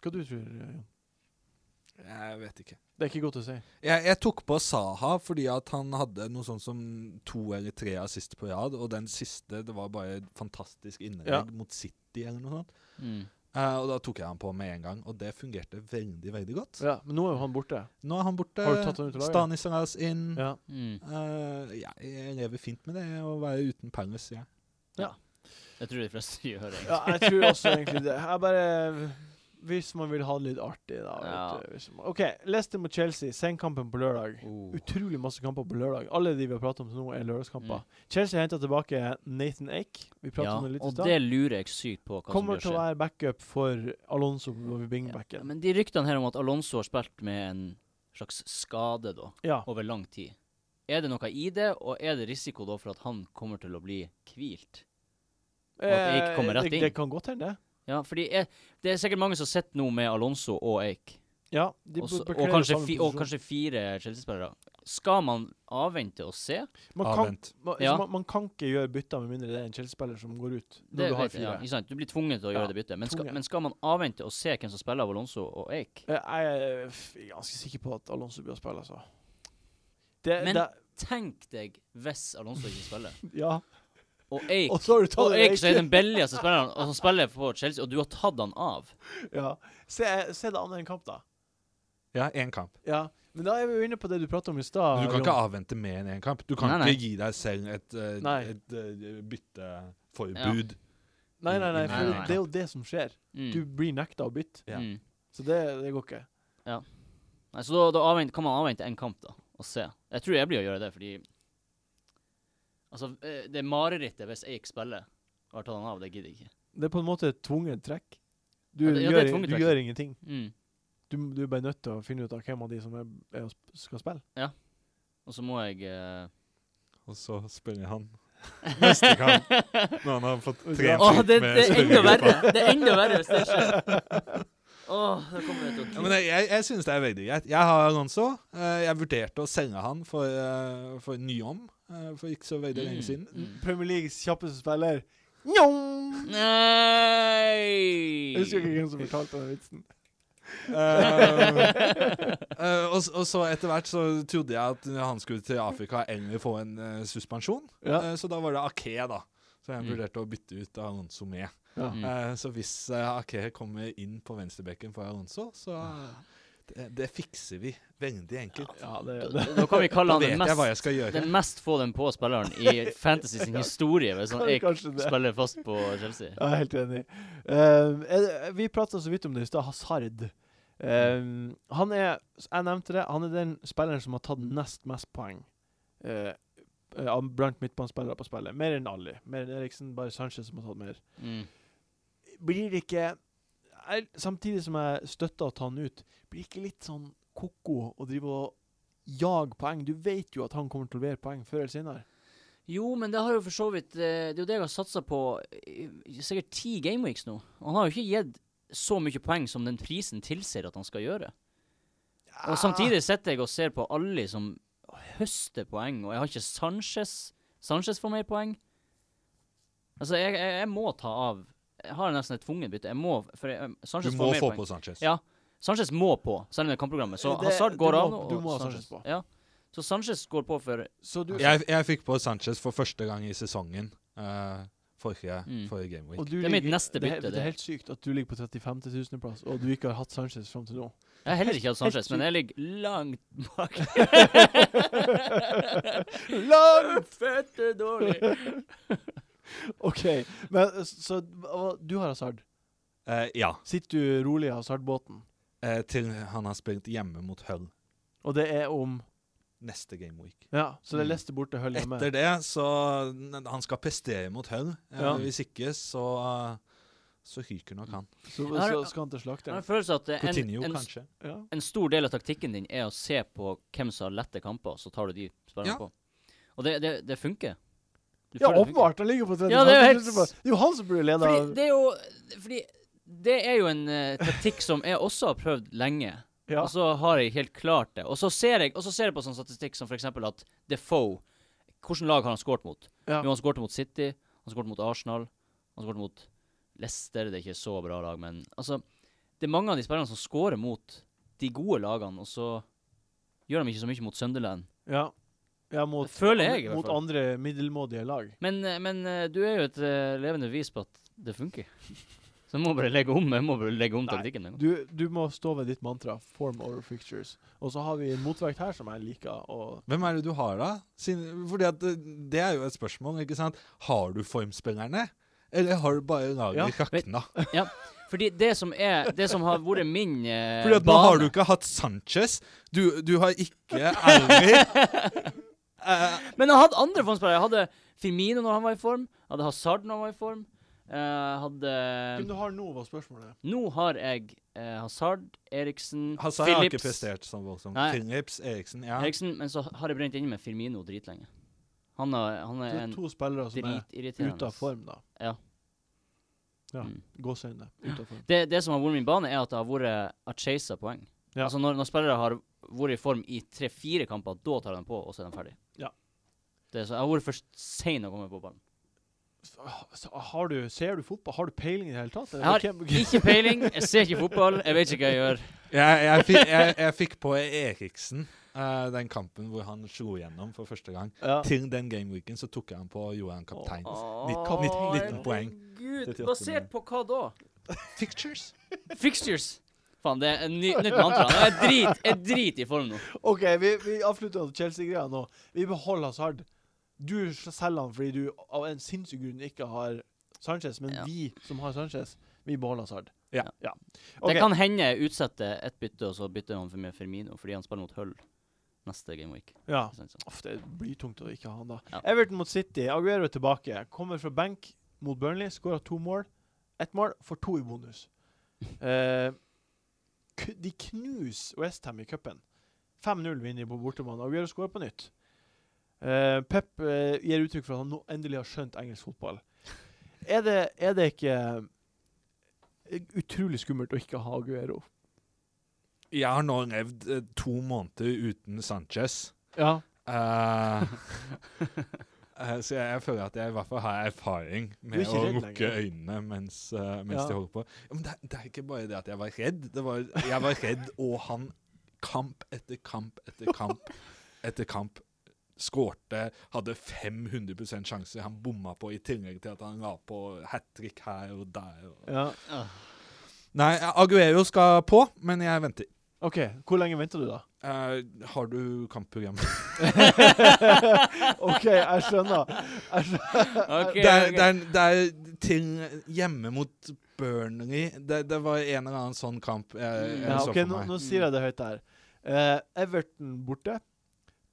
Hva du tror Jon?
Jeg vet ikke.
Det er ikke godt å si.
Jeg, jeg tok på Saha fordi at han hadde noe sånt som to eller tre assist på rad, og den siste det var bare et fantastisk innlegg
Ja.
mot City eller noe sånt.
mm.
Eh, og da tok jeg han på med en gang, og det fungerte veldig, veldig godt.
Ja, men nå er jo han borte.
Nå er han borte.
Har du tatt han ut av laget?
Stanislas inn.
Ja.
Mm.
Eh, ja, jeg lever fint med det, å være uten Palace, jeg.
Jeg tror de fleste gjør det.
ja, jeg tror også egentlig det. Jeg bare Hvis man vil ha det litt artig, da.
Ja.
Vet du, hvis man, OK, Leicester mot Chelsea. Senkampen på lørdag.
Oh.
Utrolig masse kamper på lørdag. Alle de vi har pratet om til nå, er lørdagskamper. Chelsea henter tilbake Nathan Ake. Vi pratet
Mm. Ja,
om det litt i
og det
stad.
lurer jeg sykt på hva
Kommer
som
til å
blir å skje.
være backup for Alonso på
Ja,
wingbacken.
men de ryktene her om at Alonso har spilt med en slags skade da,
Ja.
over lang tid. Er det noe i det, og er det risiko da for at han kommer til å bli hvilt? Og at Ake
Eh,
kommer rett
det,
inn.
det kan godt hende, det.
Ja, fordi jeg, det er sikkert mange som sitter nå med Alonso og Eik,
Ja, de
og, så-
bekler
og, kanskje
samme
fi, og
posisjon.
kanskje fire Chelsea-spillere. Skal man avvente og se?
Man kan,
Avvent.
man,
Ja.
så man, man kan ikke gjøre bytter med mindre det er en Chelsea-spiller som går ut.
Det
Når du har
vet jeg, ja,
fire.
ikke sant? Du blir tvunget til å
Ja,
gjøre det byttet. Men, skal-
tvunget.
men skal man avvente og se hvem som spiller av Alonso og Eik?
Eh, Jeg er f- ganske sikker på at Alonso blir å spille, altså. Det,
Men-
det,
Tenk deg hvis Alonso ikke spiller,
ja.
og Eik
Og så har du tatt
Og Eik
Eik.
så er den billigste spilleren og som spiller for Chelsea, og du har tatt han av.
Ja. Se, se det andre enn kamp, da.
Ja, én kamp.
Ja. Men da er vi jo inne på det du pratet om i stad.
Men du kan
Jon.
ikke avvente mer enn én kamp. Du kan
Nei, nei.
ikke gi deg selv et, eh,
Nei.
et eh, bytteforbud.
Nei, nei, nei,
Nei,
for
nei, nei.
det er jo det som skjer.
Mm.
Du blir nekta å bytte.
Ja.
Mm.
Så det, det går ikke.
Nei, så da, da avvent, kan man avvente en kamp, da, og se. Jeg tror jeg blir å gjøre det, fordi Altså, eh, det er marerittet hvis Eik spiller og har tatt han av. Det gidder jeg ikke.
Det er på en måte et tvungent trekk. Du,
Ja, det- ja, det er
gjør,
et tvunget
du
trekk.
gjør ingenting.
Mm.
Du, du er bare nødt til å finne ut av hvem av de som er, er og sp- skal spille.
Og så må jeg eh,
Og så spiller han neste kamp når han har fått
Vet du hva?
tre
Åh,
fyrt
det,
med
det er enda
spillergruppa.
verre! Det er enda verre hvis det skjer. Åh, da kommer det til å
Ja, men jeg, jeg, jeg synes det er veldig greit. Jeg har Alonso. Eh, Jeg vurderte å selge han for, eh, for nyom eh, for ikke så veldig lenge siden.
Mm.
Premier Leages kjappeste spiller Njong!
Nei!
Jeg husker ikke hvem som fortalte den vitsen.
Eh, eh, og, s- og så etter hvert så trodde jeg at han skulle til Afrika eller få en eh, suspensjon.
Ja.
Eh, så da var det Ake, da. Så jeg
Mm.
vurderte å bytte ut Alonso med.
Ja.
Mm.
Eh, så hvis eh, Ake kommer inn på venstrebekken for Alonso, så det, det fikser vi veldig enkelt.
Ja, det,
Da,
det.
da kan vi kalle
Da
han den
vet jeg hva
mest,
jeg skal gjøre.
den mest få den på-spilleren i Fantasy sin historie, hvis han
Kan-
Eik
kanskje det.
spiller fast på Chelsea.
Jeg er helt enig. Ehm, er det- vi prata så vidt om det i stad. Hazard. Ehm, han er, jeg nevnte det, han er den spilleren som har tatt nest mest poeng eh, eh, av- blant midtbanespillere på spillet. Mer enn Ali. Mer enn Eriksen. Bare Sanchez som har tatt mer.
Mm.
Blir det ikke jeg, Samtidig som jeg støtter å ta han ut, blir det ikke litt sånn ko-ko å drive og jage poeng? Du vet jo at han kommer til å levere poeng før eller senere.
Jo, men det har jo for så vidt eh, Det er jo det jeg har satsa på i i sikkert ti gameweeks nå. Og han har jo ikke gitt så mye poeng som den prisen tilsier at han skal gjøre. Og samtidig sitter jeg og ser på alle som høster poeng, og jeg har ikke Sanchez. Sanchez får mer poeng. Altså, jeg, jeg, jeg må ta av Jeg har nesten et tvungent bytte. Jeg må, for jeg, um,
Du
Sanchez
må
får mer
få
poeng.
på Sanchez.
Ja. Sanchez må på, selv om det er kampprogrammet. Så
Det-
Hazard
du
går
må-
av nå.
du
og
må ha Sanchez på.
Ja. Så Sanchez går på for
Så du,
Jeg, jeg fikk på Sanchez for første gang i sesongen eh, forrige,
Mm.
forrige Game Week.
Og du
Det er mitt
ligger-
neste
det er-
bytte,
Det
det.
er helt sykt at du ligger på 35. 000. plass, og du ikke har hatt Sanchez fram til nå.
Jeg har heller ikke hatt Sanchez,
helt
men jeg ligger langt bak.
Langt!
Fette dårlig.
OK. Men eh, så hva- du har hasard.
Eh, ja.
Sitter du rolig i hasardbåten,
Eh, til han har spilt hjemme mot Hull
og det er om
neste Game Week.
Ja, så det er
Mm.
Leicester borte, Hull hjemme.
Etter det, så n- Han skal prestere mot Hull. Eh,
Ja.
Hvis ikke, så så ryker nok han.
Så,
Jeg har-
så skal han til
Jeg har
slakteren.
en følelse at eh, en,
Coutinho,
en,
kanskje.
Ja.
en stor del av taktikken din er å se på hvem som har lette kamper, så tar du de spillerne
Ja.
på. Og det, det, det funker. Du
Ja,
føler det funker.
åpenbart! eh, Han ligger på 35.
Ja, det er jo helt
000 plass. Det er jo han som burde lede.
Fordi det er jo Fordi det er jo en eh, taktikk som jeg også har prøvd lenge.
Ja.
Og så har jeg helt klart det. Og så ser jeg, og så ser jeg på sånn statistikk som f.eks. at Defoe Hvilket lag har han skåret mot?
Ja.
Jo, han skårte mot City, han skårte mot Arsenal, han skårte mot Leicester. Det er ikke så bra lag, men altså Det er mange av de spillerne som skårer mot de gode lagene, og så gjør de ikke så mye mot Sunderland.
ja. ja mot,
Det føler jeg, i hvert
mot
fall.
andre middelmådige lag.
Men, eh, men eh, du er jo et eh, levende bevis på at det funker. Så jeg må bare legge om, jeg må bare legge om
Nei,
taktikken. en gang.
Du, du må stå ved ditt mantra 'form over fixtures'. Og så har vi en motvekt her som jeg liker. Og
Hvem er det du har, da? Siden, fordi at eh, Det er jo et spørsmål. ikke sant? Har du formspillerne? Eller har du bare
Ja.
laget rakna?
Fordi det som er Det som har vært min eh,
Fordi at nå har du ikke hatt Sanchez. Du, du har ikke Erling. Eh,
Men jeg hadde andre formspillere. Jeg hadde Firmino når han var i form. Jeg hadde Hazard når han var i form. Jeg hadde
Hvem du har nå, var spørsmålet.
Nå har jeg eh, Hazard, Eriksen,
Hazard har ikke prestert sånn voldsomt.
Nei.
Phillips, Eriksen ja.
Eriksen, men så har jeg brent inne med Firmino dritlenge. Han er, han
Det
er
er
en
to spillere som er
dritirriterende
ute av form, da.
Ja.
Ja.
Mm.
Gåseøyne. Ute av form.
Det, det som har vært min bane, er at det har vært achasa poeng.
Ja.
Altså når, når spillere har vært i form i tre-fire kamper, da tar de på, og så er de ferdig.
Ja.
Det er så, jeg har vært for sein å komme på ballen.
Så altså, Har du, ser du fotball? Har du peiling i det hele tatt?
Jeg har ikke peiling, jeg ser ikke fotball, jeg vet ikke hva jeg gjør.
Jeg, jeg, fikk, jeg, jeg fikk på Eriksen eh, den kampen hvor han slo gjennom for første gang.
ja.
Til den gameweeken så tok jeg han på Johan Kaptein.
Åh,
19, 19 poeng.
Gud,
38
basert på hva da?
Pictures!
Fixtures! Faen, det er en ny, nytt mantra. Jeg er drit, jeg er drit i form nå.
OK, vi, vi avslutter Chelsea-greia nå. Vi beholder Hazard. Du selger han fordi du av en sinnssyk grunn ikke har Sanchez, men
Ja.
vi som har Sanchez, vi beholder Hazard.
Ja.
Ok.
Det kan hende jeg utsetter ett bytte, og så bytter han for meg Firmino, fordi han spiller mot Hull neste game week.
Ja.
Sånn, sånn.
Uff, det blir tungt å ikke ha han da.
Ja.
Everton mot City. Aguero er tilbake. Kommer fra benk mot Burnley. Skåra to mål. Ett mål, får to i bonus. Eh, ku- de knuser Westham i cupen. 5-0 vinner de på bortemann. Aguero skårer på nytt. Eh, Pep eh, gir uttrykk for at han nå endelig har skjønt engelsk fotball. Er det, er det ikke eh, utrolig skummelt å ikke ha Aguero?
Jeg har nå levd eh, to måneder uten Sanchez.
Ja.
Eh, eh, så jeg, jeg føler at jeg i hvert fall har erfaring
Du er
med
ikke
å
redd
lukke
lenger.
øynene mens, eh, mens
Ja.
de holder på. Ja, Men det, er- det er ikke bare det at jeg var redd. Det var, jeg var redd, og han kamp etter kamp etter kamp etter kamp skårte, hadde 500 sjanser han bomma på, i tillegg til at han la på hat trick her og der. Og.
ja.
Nei, Aguero skal på, men jeg venter.
OK. Hvor lenge venter du, da?
Eh, har du kampprogram?
OK, jeg skjønner. Jeg skjønner.
Ok,
det, er,
ok.
det, er, det er ting hjemme mot Burnley Det, det var en eller annen sånn kamp jeg,
Mm.
jeg
Ja,
så
ok,
for
nå,
meg.
nå sier jeg det høyt her. Eh, Everton borte.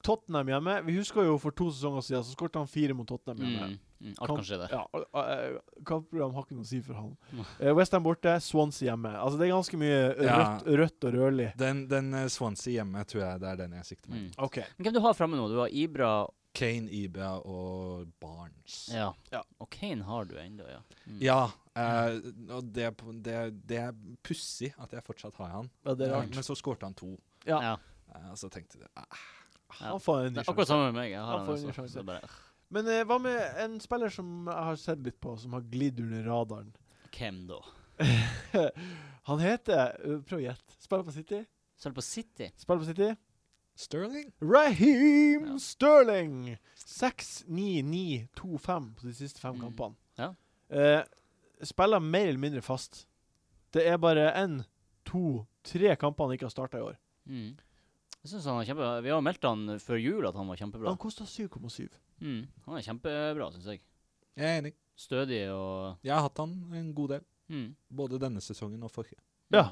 Tottenham hjemme. Vi husker jo for to sesonger siden så skåret han fire mot Tottenham hjemme.
Mm, mm, alt kan skje der.
Ja, og- og, eh, Kampprogram har ikke noe å si for han.
Nei.
Eh, Westham borte, Swansea hjemme. Altså Det er ganske mye
Ja.
rødt, rødt og rødlig.
Den, den eh, Swansea hjemme tror jeg det er den jeg sikter meg.
Mm.
OK.
Men hvem du har fremme nå? Du har Ibra
Kane, Ibra og Barnes.
Ja.
Ja.
Og Kane har du ennå, ja. Mm.
Ja, eh, og det, det, det er pussig at jeg fortsatt har han.
Ja, det er
Eh,
rart.
Men så skårte han to.
Ja.
Ja.
Eh, Og så tenkte jeg eh,
Han får en
Det
ny
er
sjanse.
akkurat samme med meg. Jeg har
Han
han
får en ny
også.
sjanse.
Så bare,
Men eh, hva med en spiller som jeg har sett litt på, som har glidd under radaren?
hvem da?
han heter eh, Prøv å gjette. Spiller på City.
Selv på City?
Spiller på City.
Sterling?
Raheem
Ja.
Sterling! 6-9-9-2-5 på de siste fem
Mm.
kampene.
Ja.
Eh, spiller mer eller mindre fast. Det er bare én, to, tre kamper han ikke har starta i år.
Mm. Jeg synes han er kjempe... Vi har jo meldt han før jul at han var kjempebra.
Han kosta 7,7.
Mm. Han er kjempebra, synes jeg.
Jeg er enig.
Stødig og
Jeg har hatt han en god del.
mm.
Både denne sesongen og forrige.
Ja.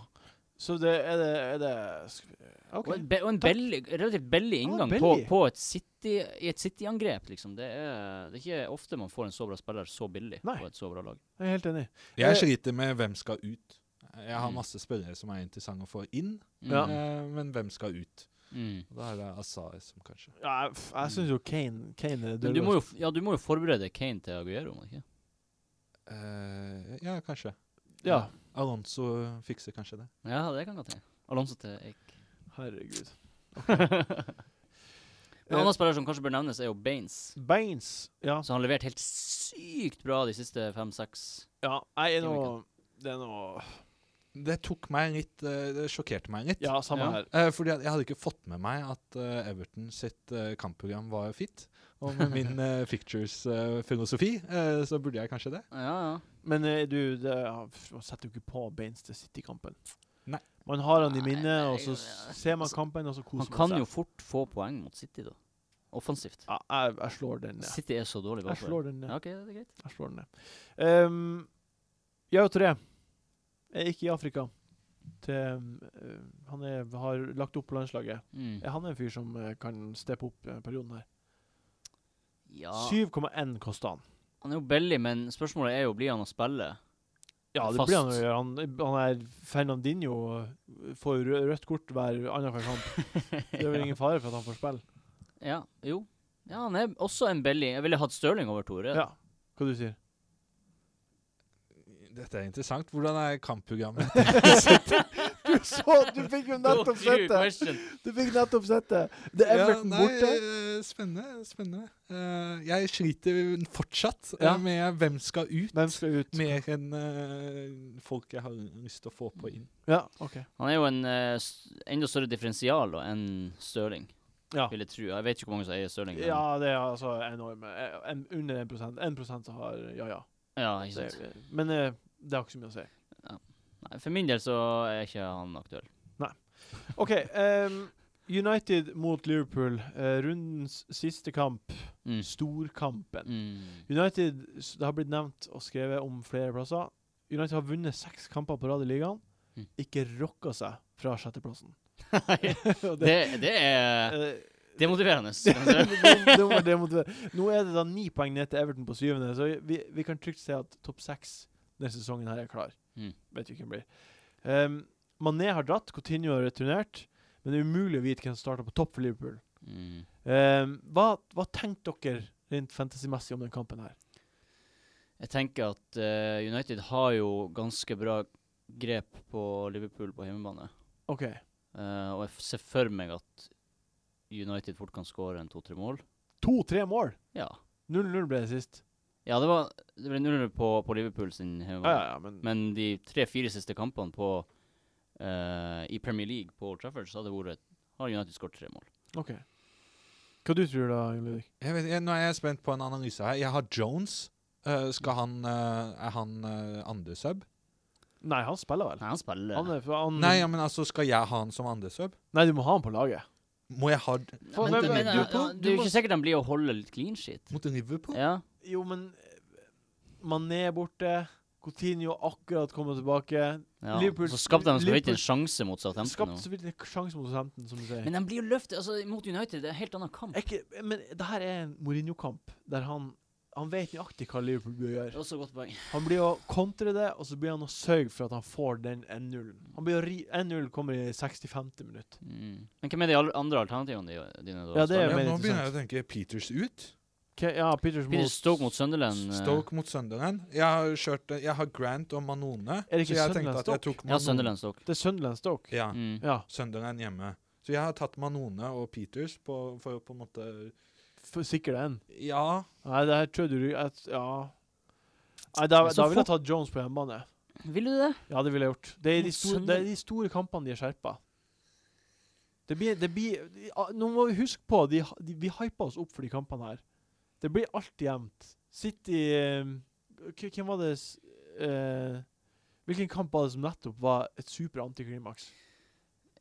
Så det er det, er det sk- OK.
Og en, be og en
Takk.
belly, relativt billig
Ja,
inngang på,
billig.
på et city, i et City-angrep, liksom. Det er, det er ikke ofte man får en så bra spiller så billig
Nei.
på et så bra lag.
Jeg er helt enig. Eh,
Jeg sliter med hvem skal ut. Jeg har
Mm.
masse spillere som er interessante å få inn,
Mm.
Ja.
eh, men hvem skal ut?
Mm.
Da er det Azar som kanskje
Ja, jeg f- jeg syns jo Kane, Kane er altså.
Men du må,
dødløs.
jo, f- ja, du må jo forberede Kane til Aguero, må du ikke?
Eh, Ja, kanskje.
Ja,
Alonso fikser kanskje det.
Ja, det kan godt hende. Alonso til Eik.
herregud.
En annen spiller som kanskje bør nevnes, er jo Baines.
Baines. Ja.
Så han har levert helt sykt bra de siste fem-seks.
ja. Jeg er nå Det er noe
Det tok meg litt eh, Det sjokkerte meg litt.
Ja, samme
Ja.
her.
Eh, fordi at jeg hadde ikke fått med meg at eh, Everton sitt eh, kampprogram var fit. Og med min eh, Fictures-filosofi så burde jeg kanskje det.
Ja, ja.
Men eh, du, det, ja, f- man setter jo ikke på Baines til City-kampen.
Nei.
Man har han i
Nei,
minnet, og så
jeg-
s- ser man
altså,
kampen, og så koser
Han
man
kan
seg.
jo fort få poeng mot City, da. Offensivt.
ja, jeg, jeg slår den ned.
City er så dårlig
Jeg
bakpå.
slår den ned.
Ja, ok, det er greit.
Jeg slår den ned. Um, jeg og Tre er ikke i Afrika. Til, um, eh, han er, har lagt opp på landslaget.
Mm.
Er Han er en fyr som eh, kan steppe opp eh, perioden her.
Ja,
7,1 koster han.
han er jo billig, men spørsmålet er jo blir han å spille.
Ja, det
Fast.
blir han jo. å gjøre. Han, han er Fernandinho. eh, Får rø- rødt kort hver annenhver kamp. Det er vel ingen fare for at han får spille.
Ja, jo. Ja, han er også en billig. Jeg ville hatt Stirling over Tore.
Ja. Hva du sier
Dette er interessant. Hvordan er kampprogrammet?
du? Du så, du fikk jo nettopp sett det!
question.
Du fikk nettopp sett det. Det er Everton
nei,
borte.
eh, Spennende. spennende. Eh, jeg sliter fortsatt eh,
Ja.
med hvem skal ut,
Hvem skal ut?
mer enn eh, folk jeg har lyst til å få
Mm.
på inn.
Ja, OK.
Han er jo en eh, s- enda større differensial da, enn Stirling,
Ja.
vil jeg tro. Jeg vet ikke hvor mange som eier Stirling. men-
Ja, det er altså enorme. Eh, En, under 1 1 som har ja, ja.
ja, ikke sant.
Det, men eh, det har ikke så mye å si.
Nei, for min del så er ikke han aktuell.
OK. ehm, United mot Liverpool. eh, rundens siste kamp.
Mm.
Storkampen.
Mm.
United s- Det har blitt nevnt og skrevet om flere plasser. United har vunnet seks kamper på rad i ligaen.
Mm.
Ikke rokka seg fra sjetteplassen. Og
det, det er
eh,
Det er motiverende.
det,
kan jeg si.
det, det må- det må det være. Nå er det da ni poeng ned til Everton på syvende, så vi, vi kan trygt si at topp seks denne sesongen her er klar.
Mm.
Vet jo hvem det blir. Um, Mané har dratt, Coutinho har returnert, men det er umulig å vite hvem som starter på topp for Liverpool.
Mm.
Um, hva, hva tenkte dere rent fantasymessig om den kampen her?
Jeg tenker at eh, United har jo ganske bra grep på Liverpool på hjemmebane.
OK.
Eh, og jeg f- ser for meg at United fort kan skåre en to-tre mål.
To-tre mål!
Ja.
0-0 ble det sist.
ja, det var det ble 0 på, på Liverpool sin
Ja,
hjemmebane.
ja, ja, men,
Men de tre-fire siste kampene på, eh, i Premier League på Old Trafford, så har, det vært, har United skåret tre mål.
OK. Hva du tror du da, Jon Ludvig?
Jeg vet, jeg, nå er jeg spent på en analyse her. Jeg har Jones. Eh,
Mm.
skal han eh, Er han eh, andre sub?
Nei, han spiller vel.
Nei, han spiller.
Han er, han,
Nei, ja, men altså, skal jeg ha han som andre sub?
nei, du må ha han på laget.
Må jeg ha
For-
men, men,
men-
men,
Liverpool?
eh,
Du
det er jo
må-
ikke sikkert han blir å holde litt clean shit.
mot Liverpool?
Ja.
Jo, men eh, Mané er borte. Coutinho akkurat kommet tilbake.
Ja,
Liverpool-
så skapte de så vidt
Liverpool-
en sjanse mot Southampton.
Skapte
nå.
så vidt en sjanse mot Southampton, som du sier.
Men de blir jo løftet altså, mot United. Det er en helt annen kamp.
Er ikke, men det her er en Mourinho-kamp der han han vet nøyaktig hva Liverpool bør
Det er
gjøre.
også et godt poeng.
Han blir å kontre det, og så blir han å sørge for at han får den 1-0-en. Han blir å ri 1-0 kommer i 65. minutt.
Mm. Men hvem er de alle- andre alternativene de- dine? da?
Ja, det er mer
Spiller-
nå
interessant.
begynner jeg å tenke Peters ut.
Ke- ja, Peters
Peter
mot
Stoke mot Sunderland. eh,
Stoke mot Sunderland. Jeg har, kjørt, eh, jeg har Grant og Manone.
Er det ikke Sunderland
så jeg tenkte at jeg
Stoke?
tok
Ja,
Manone.
Sunderland Stoke.
Det er Sunderland Stoke.
Ja,
Mm.
Ja.
Sunderland hjemme. Så jeg har tatt Manone og Peters på, for å på en måte
For sikkert en.
Ja.
Nei, det her tror du at, Ja. Nei, da,
Men så
da ville
fort-
jeg tatt Jones på hjemmebane.
Vil du det?
Ja, det ville jeg gjort. Det er de
Mot
store, det er de store kampene de er skjerpa. Det blir, det blir de- ah, Nå må vi huske på de, ha- de, Vi hypa oss opp for de kampene her. Det blir alltid jevnt. City eh, k- Hvem var det s- eh, Hvilken kamp var det som nettopp var et super antiklimaks?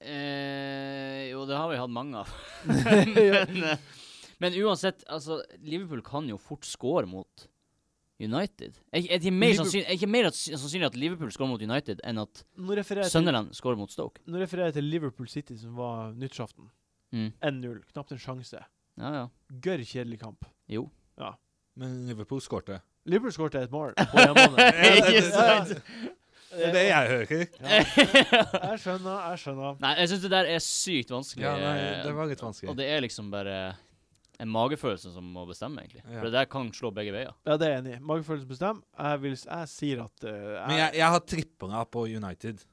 Eh, jo, det har vi hatt mange av.
Ja.
men, eh, men uansett, altså, Liverpool kan jo fort score mot United. Er, ikke- er det mer,
Liverpool-
sannsynlig, er ikke mer at, sannsynlig at Liverpool scorer mot United, enn at
Nå refererer jeg til,
Sunderland scorer mot Stoke?
nå refererer jeg til Liverpool City, som var nyttårsaften.
Mm.
1-0. Knapt en sjanse.
Ja, ja.
Gørr kjedelig kamp.
Jo.
Men Liverpool skårte.
Liverpool skåret et mål på hjemmebane.
Ikke
Ja,
sant?
Det er det
Eh,
jeg hører.
Jeg skjønner, jeg skjønner.
Nei, jeg syns det der er sykt vanskelig.
Ja, nei,
eh,
det var litt
Og
vanskelig.
det er liksom bare en magefølelse som må bestemme, egentlig.
Ja.
For det der kan slå begge veier.
Ja, det er jeg enig i. Magefølelsen bestemmer. Jeg, vil, s- jeg sier at eh,
Men jeg, jeg har trippa på United.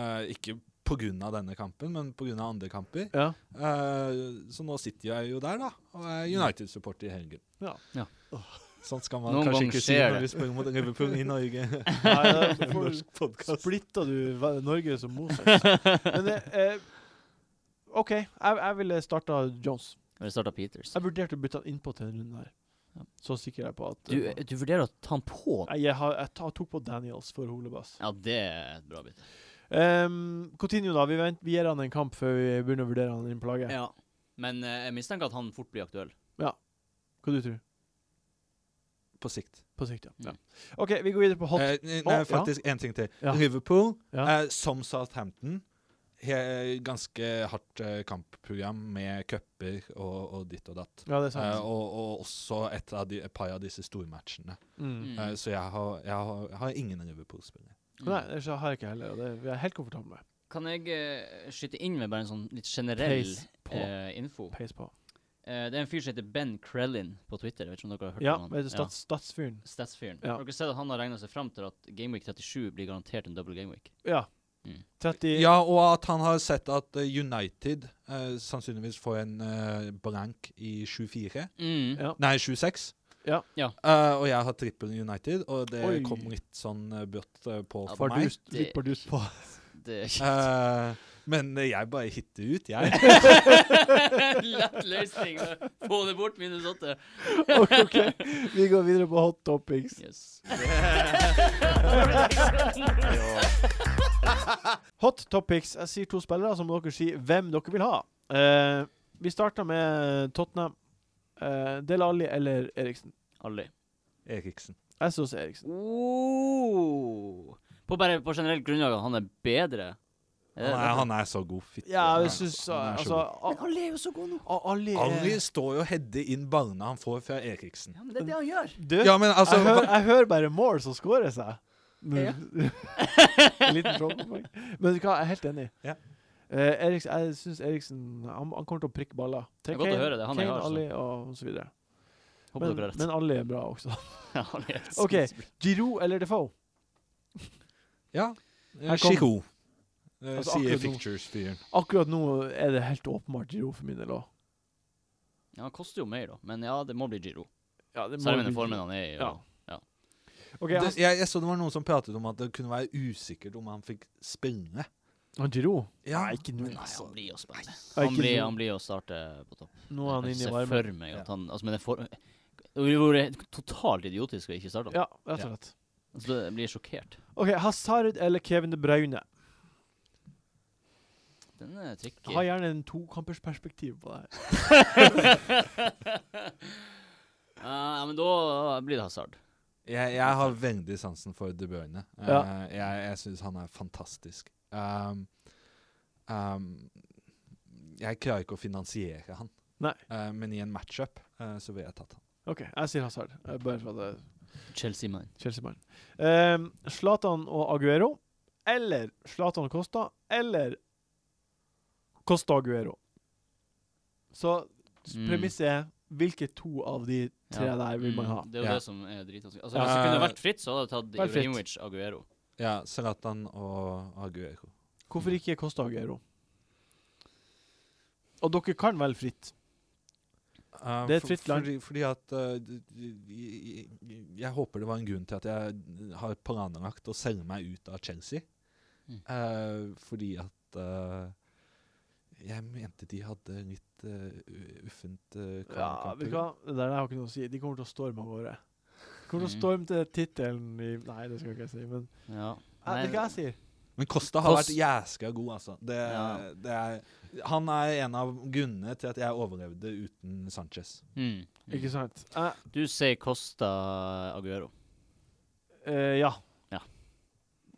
Eh, ikke pga. denne kampen, men pga. andre kamper.
ja.
Eh, så nå sitter jeg jo der, da, og er United-supporter i helgen.
Ja.
Ja.
Mm. Sånn skal man
Noen
kanskje
ganger
ikke si
skjer
når
det.
vi spør mot Liverpool i Norge.
Nei, da får-
Norsk podcast.
Splitta du ve- Norge som Moses? Men eh, eh, OK, jeg, jeg ville starta Jones.
Når det starter Peters.
Jeg vurderte å bytte han innpå til denne runden
Ja.
her. Så sikker er jeg på at
Du,
eh,
du vurderer å ta han på?
Nei, jeg, har, jeg ta- tok på Daniels for Holebass.
Ja, det er et bra bytte.
Um, Coutinho, da. Vi, vent, vi gir han en kamp før vi begynner å vurdere han inn på laget.
Ja. Men eh, jeg mistenker at han fort blir aktuell.
Hva du tror
På sikt.
På sikt, ja.
Mm.
ja. OK, vi går videre på hot.
Eh, nei, nei,
Å, ja.
faktisk én ting til.
Ja.
Liverpool,
Ja.
eh, som Southampton he, eh, Ganske hardt eh, kampprogram med cuper og, og ditt og datt.
Ja, det er
Eh,
sant.
og, og også et, av de, et par av disse stormatchene.
Mm.
Mm.
Eh, så jeg har, jeg har, jeg har ingen Liverpool-spillere.
Nei, det har jeg ikke heller. og Det vi er jeg helt komfortable med.
Kan jeg eh, skyte inn med bare en sånn litt generell
Pace på.
eh, info?
Peis på.
Eh, det er en fyr som heter Ben Krellin på Twitter. Jeg vet ikke om dere har hørt
Ja,
om han.
men det er stats, statsfyren.
Statsfyren.
Ja.
Har dere sett at han har regna seg fram til at Gameweek 37 blir garantert en double gameweek?
Ja. 30
Ja, og at han har sett at eh, United eh, sannsynligvis får en eh, blank i 24.
Mm.
Ja.
Nei, 26.
Ja.
Ja.
Eh, og jeg har trippel United, og det
Oi.
kom litt sånn eh, brått eh, på
Ja,
for meg.
Bardust, litt bardust på.
Det er ikke
Eh, men eh, jeg bare hitter ut, jeg.
Lett løsning. Få det bort, minus åtte.
Ok, ok. Vi går videre på hot topics.
Yes.
Hot topics. Jeg sier to spillere, så må dere si hvem dere vil ha. Eh, vi starter med Tottenham. Uh, Del Alli eller Eriksen?
Alle.
Eriksen.
Jeg synes Eriksen.
Oh. På bare på generelt grunnlag at han er bedre. Er det
Han er,
derfor?
han er så god. Fitte.
Ja,
Han er
jeg synes
så- han er så
altså,
god.
Al-
Men alle er jo så gode nå.
Al- Alli er-
Alri står jo og header inn barna han får fra Eriksen.
Ja, men det er det han gjør.
Du,
Ja, men altså
jeg, hører, jeg hører bare mål som scorer seg.
Ja.
En liten trommepoeng. Men vet du hva, jeg er helt enig.
Ja.
Eh, Eriksen, jeg syns Eriksen han, han kommer til å prikke baller.
Det er godt å høre det, han er
Kane,
hard, så.
Alli og så videre. Men,
Håper dere har rett.
men Alli er bra også.
Ja, alle er helt
OK,
sinnssykt.
Giroud eller Defoe?
Ja.
Her kom-
Giroud. Eh,
Altså,
sier
akkurat nå.
Fictures-fyren.
Akkurat nå er det helt åpenbart Giroud for min del òg.
Ja, han koster jo mer, da. Men ja, det må bli Giro. Særlig med den formen han er i.
Ja.
og-
OK,
Det-
han,
Jeg, jeg så det var noen som pratet om at det kunne være usikkert om han fikk spille.
han Giroud
Ja,
Nei, ikke nå,
men
Nei,
altså,
han blir å spille.
Nei,
Han
ikke
blir,
nå.
han blir å starte på topp.
Nå er han
Jeg
inne i
ser
varmen.
for meg at han altså, Men det for... Det ville vært totalt idiotisk å ikke starte
Ja,
han.
rett og slett.
Altså, det blir sjokkert.
OK, Hazard eller Kevin De Bruyne?
Den er tricky.
Ha gjerne en tokampersperspektiv på det her.
Ja, men da blir det hasard.
Jeg, jeg har veldig sansen for De Bruyne. Eh,
Ja.
jeg jeg syns han er fantastisk. Um, um, jeg klarer ikke å finansiere han,
Nei.
Eh, men i en matchup eh, så ville jeg tatt han.
OK, jeg sier Hazard. eh, Bare for at det er
Chelsea-mann.
Chelsea-mann. Ehm, Zlatan og Aguero eller Zlatan og Costa eller Costa og Aguero. Så s-
Mm.
premisset er hvilke to av de tre der vil man ha?
Mm, Det er jo
Ja.
det som er dritvanskelig. Altså,
Ja.
hvis det kunne vært fritt, så hadde jeg tatt
Vært fritt.
Ibrahimovic Aguero.
Ja, Zlatan og Aguero.
Hvorfor ikke Costa og Aguero? Og dere kan velge fritt.
Eh,
Det er et
for-
fritt land.
Fordi, fordi at eh, d- d- jeg, jeg håper det var en grunn til at jeg eh, har planlagt å selge meg ut av Chelsea.
Mm.
Eh, fordi at eh, jeg mente de hadde litt eh, u- uffent uh,
Ja, vet du hva? Det der har ikke noe å si. De kommer til å storme av gårde. De kommer til å
Mm.
storme til tittelen i Nei, det skal jeg ikke si, men
Ja.
Ja, Det er hva jeg sier.
Mm.
Men Costa har
Kost-
vært jæska god, altså. Det,
Ja.
det er, han er en av grunnene til at jeg overlevde uten Sanchez.
Mm.
Ikke sant? Jeg
Du sier Costa Aguero.
Eh, ja.
Ja.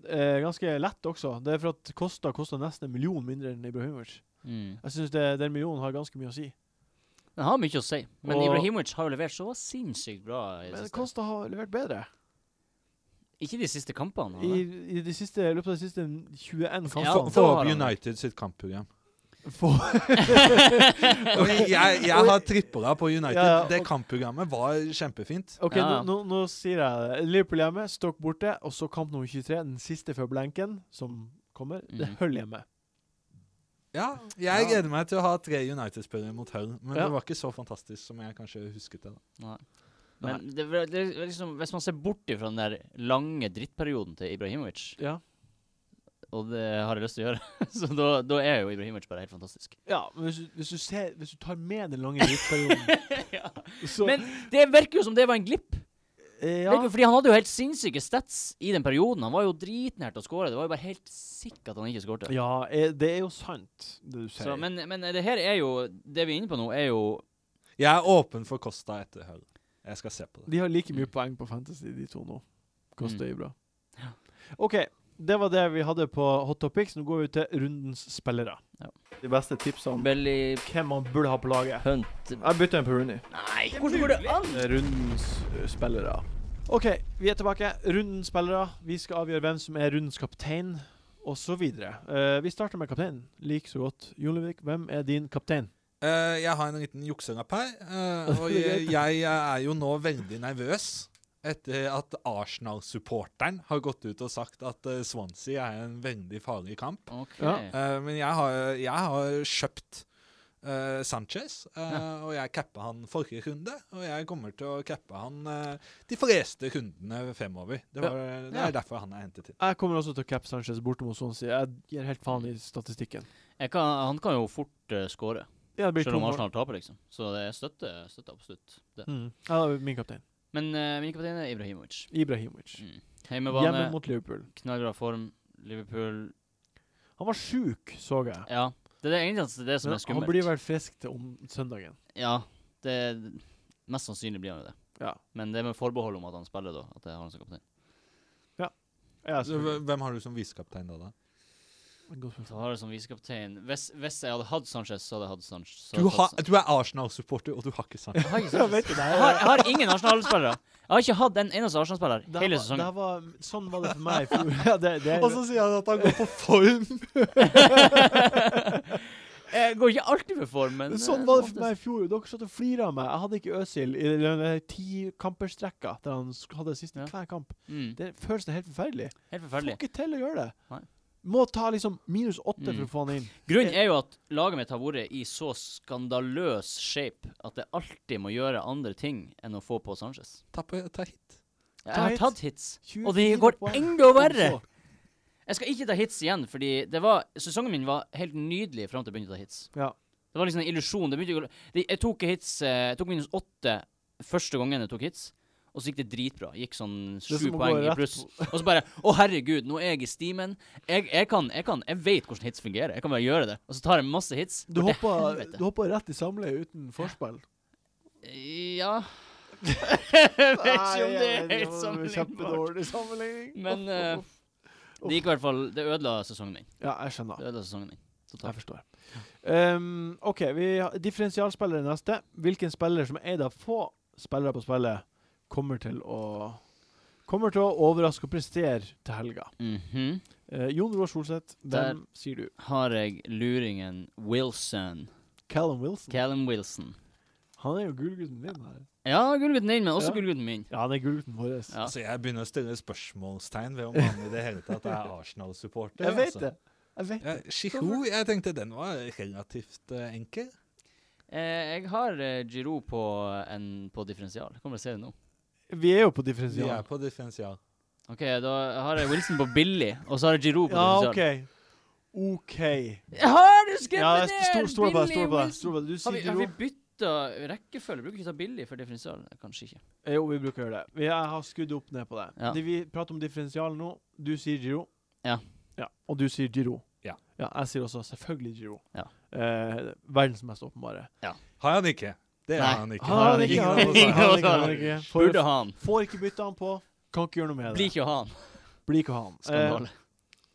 Eh, ganske lett også. Det er for at Kosta koster nesten en million mindre enn Ibrahimovic.
Mm.
Jeg syns den millionen har ganske mye å si.
Den har mye å si, men
Og-
Ibrahimovic har jo levert så sinnssykt bra. I det
Men
siste.
Kosta har levert bedre.
Ikke de siste kampene.
I,
eller?
i de siste, i løpet av de siste 21
Ja,
kampene.
da
Få
har
opp
han det.
United sitt kampprogram.
For-
Og jeg, jeg har tripla på United.
Ja, ja,
Det
og-
kampprogrammet var kjempefint.
OK,
Ja.
nå, nå, nå sier jeg det. Liverpool hjemme, Stoke borte, og så kamp nummer 23, den siste før blenken, som kommer. Det
Mhm.
holder hjemme.
Ja, jeg
Ja.
gleder meg til å ha tre United-spillere mot Hull, men
Ja.
det var ikke så fantastisk som jeg kanskje husket det. da.
Men det, er vel- det er liksom, hvis man ser bort fra den der lange drittperioden til Ibrahimovic,
Ja.
og det har jeg lyst til å gjøre, så da, da er jo Ibrahimovic bare helt fantastisk.
ja men hvis, du- hvis, du ser, hvis du tar med den lange drittperioden,
ja.
så
Men det virker jo som det var en glipp.
eh,
Det
ja.
virker jo- Fordi han hadde jo helt sinnssyke stats i den perioden. Han var jo dritnært å skåre. Det var jo bare helt sikkert at han ikke skårte.
Ja, eh, det er jo sant, det du sier.
Så, men, men det her er jo Det vi er inne på nå, er jo
Jeg er åpen for Costa etter Hull. Jeg skal se på det.
De har like mye
Mm.
poeng på Fantasy, de to nå. Kosta
Mm.
mm. Ibra.
Ja.
OK, det var det vi hadde på Hot Topics. Nå går vi til rundens spillere.
Ja.
De beste tipsene om
Belly
hvem man burde ha på laget.
Hunt
Jeg bytter en på Rooney.
Nei, hvordan går det an?
Rundens eh, spillere. OK, vi er tilbake. Rundens spillere. Vi skal avgjøre hvem som er rundens kaptein, osv. Uh, vi starter med kapteinen. Lik så godt. Jon Lundvik, hvem er din kaptein?
Eh, jeg har en liten jukselapp her, eh, og
Det er
jeg,
greit.
jeg er jo nå veldig nervøs etter at Arsenal-supporteren har gått ut og sagt at eh, Swansea er en veldig farlig kamp.
OK.
Ja.
Eh, men jeg har, jeg har kjøpt eh, Sanchez, eh,
Ja.
og jeg cappa han forrige runde. Og jeg kommer til å cappe han eh, de fleste rundene fremover. Det, var, det
Ja.
er derfor han er hentet inn.
Jeg kommer også til å cappe Sanchez borte mot Swansea. Jeg gir helt faen i statistikken.
Jeg kan, han kan jo fort uh, score,
Ja, det blir to
selv om
mål.
Arsenal taper, liksom. Så det støtter, støtter absolutt det.
Mm. Ja, det er min kaptein.
Men uh, min kaptein er Ibrahimovic.
Ibrahimovic.
Mm. Heimebane,
Hjemme mot Liverpool.
knallbra form. Liverpool
Han var sjuk, så jeg.
Ja. Det er det eneste det som
Men
er skummelt.
Han blir vel frisk til om søndagen.
Ja, det Mest sannsynlig blir han jo det.
Ja.
Men det er med forbehold om at han spiller, da. At jeg har han som kaptein.
Ja,
Så
selvfølgelig.
Hvem har du som visekaptein da? da?
Godt
Så
spørsmål.
har jeg som visekaptein hvis, hvis jeg hadde hatt Sanchez, så hadde jeg hatt Sanchez. Så hadde
Du,
jeg
har-
tatt San-
du er Arsenal-supporter, og du har ikke Sanchez.
Jeg har ikke
Jeg
Sanchez.
vet ikke, det
Jeg
her-
har, jeg har ingen Arsenal-spillere. Jeg har ikke hatt en eneste Arsenal-spiller
det her var- det
hele
her
sesongen.
var, sånn var det for meg i fjor. Altså, Ja, det, det,
Og så sier han at han går på form!
jeg går ikke alltid for form, men
sånn
eh,
var det
som
for meg i fjor. Dere satt og flirte av meg. Jeg hadde ikke Øsil i den der ti-kamperstrekka der han sk- hadde sist i
Ja.
hver kamp.
oftest. Mm,
Det føles det helt forferdelig.
helt
Får
forferdelig.
ikke til å gjøre det.
Nei.
Må ta liksom minus åtte
Mm.
for å få han inn.
Grunnen er jo at laget mitt har vært i så skandaløs shape at jeg alltid må gjøre andre ting enn å få på Sanchez.
Ta, på, ta hit.
Jeg
Ta
har
hit.
tatt hits. Og det går enda verre! Jeg skal ikke ta hits igjen, fordi det var, sesongen min var helt nydelig fram til jeg begynte å ta hits.
Ja.
Det var liksom en illusjon. Det begynte ikke å- det, jeg tok hits eh, Jeg tok minus åtte første gangen jeg tok hits, og så gikk det dritbra. Gikk sånn
er
sju
som å gå
poeng i
rett
pluss. Og så bare Å, herregud, nå er jeg i steamen. Jeg, jeg kan Jeg kan Jeg vet hvordan hits fungerer. Jeg kan bare gjøre det. Og så tar jeg masse hits.
Du
Går til
hoppa,
helvete.
du hoppa rett i samleie uten forspill.
Ja Jeg vet ikke om
Nei,
det
jeg
er
vet
helt
ikke om det er
sammenlignbart.
Kjempedårlig sammenligning.
Men
Uff, uff,
eh,
uff.
det gikk i hvert fall Det ødela sesongen min.
Ja, jeg skjønner.
Det ødela sesongen min. Så
Jeg
takk.
forstår. Ehm, OK, vi har differensialspillere neste. Hvilken spiller som er av få spillere på spillet, kommer til å Kommer til å overraske og prestere til helga.
Mhm.
Eh, Jon Roar Solseth,
Der.
hvem sier du?
Har jeg luringen Wilson.
Callum Wilson?
Callum Wilson.
Han er jo gullgutten min her.
Ja, gullgutten din, men
Ja.
også gullgutten min.
Ja, han er gullgutten vår.
Ja.
Så jeg begynner å stille spørsmålstegn ved om han i det hele tatt er Arsenal-supporter.
Jeg vet
altså.
det. Jeg vet
Ja, Giroud, jeg tenkte den var relativt eh, enkel.
Eh, jeg har eh, Giroud på, en, på differensial. Jeg kommer til å se det nå.
Vi er jo på
Vi er
differensial.
på differensial.
OK, da har jeg Wilson på billig, og så har jeg Giroud på
Ja,
differensial.
OK. OK.
Jeg har du skrevet
Ja, jeg
ned!
sto- stol på deg. Stol på deg.
Wilson.
stol på deg. Du
Har
sier
vi, har vi
Giroud.
bytta rekkefølge? Bruker ikke ta billig for differensial? Kanskje ikke.
Eh, Jo, vi bruker å gjøre det. Vi jeg har skudd opp ned på det.
Ja.
Det- Vi prater om differensial nå. Du sier Giro.
Ja.
Og du sier Giro.
Ja.
jeg sier også selvfølgelig Giro.
Ja.
Eh, verdens mest åpenbare. Ah,
Har han ikke? Det
Nei.
har han ikke.
Har han ikke,
Ingen
har
av
han
oss
ikke,
har
har
han
han
har
ikke. Får,
Burde han.
får ikke bytte han på. Kan ikke gjøre noe med det.
Blir ikke han.
Blir ikke han. Eh,
Skandale.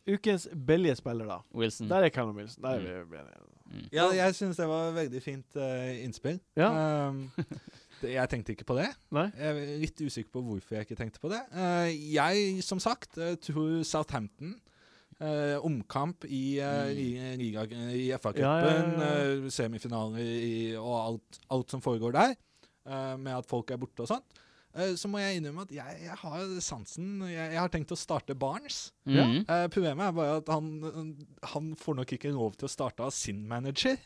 ukens billige spiller, da.
Wilson.
Der er Callum Wilson. Der er vi enige.
Mm.
Ja, jeg syns det var veldig fint eh, innspill.
Ja.
Um, det, jeg tenkte ikke på det.
Nei.
Mm.
Jeg er litt usikker på hvorfor jeg ikke tenkte på det. Eh, jeg, som sagt, eh, tror Southampton eh, omkamp i, eh, i, liga- eh, i FA-cupen,
Ja, ja, ja,
eh, semifinaler i, og alt, alt som foregår der, eh, med at folk er borte og sånt. Eh, så må jeg innrømme at jeg, jeg har sansen jeg, jeg har tenkt å starte Barnes.
Ja.
Mhm.
Eh, problemet er bare at han, han får nok ikke lov til å starte av sin manager.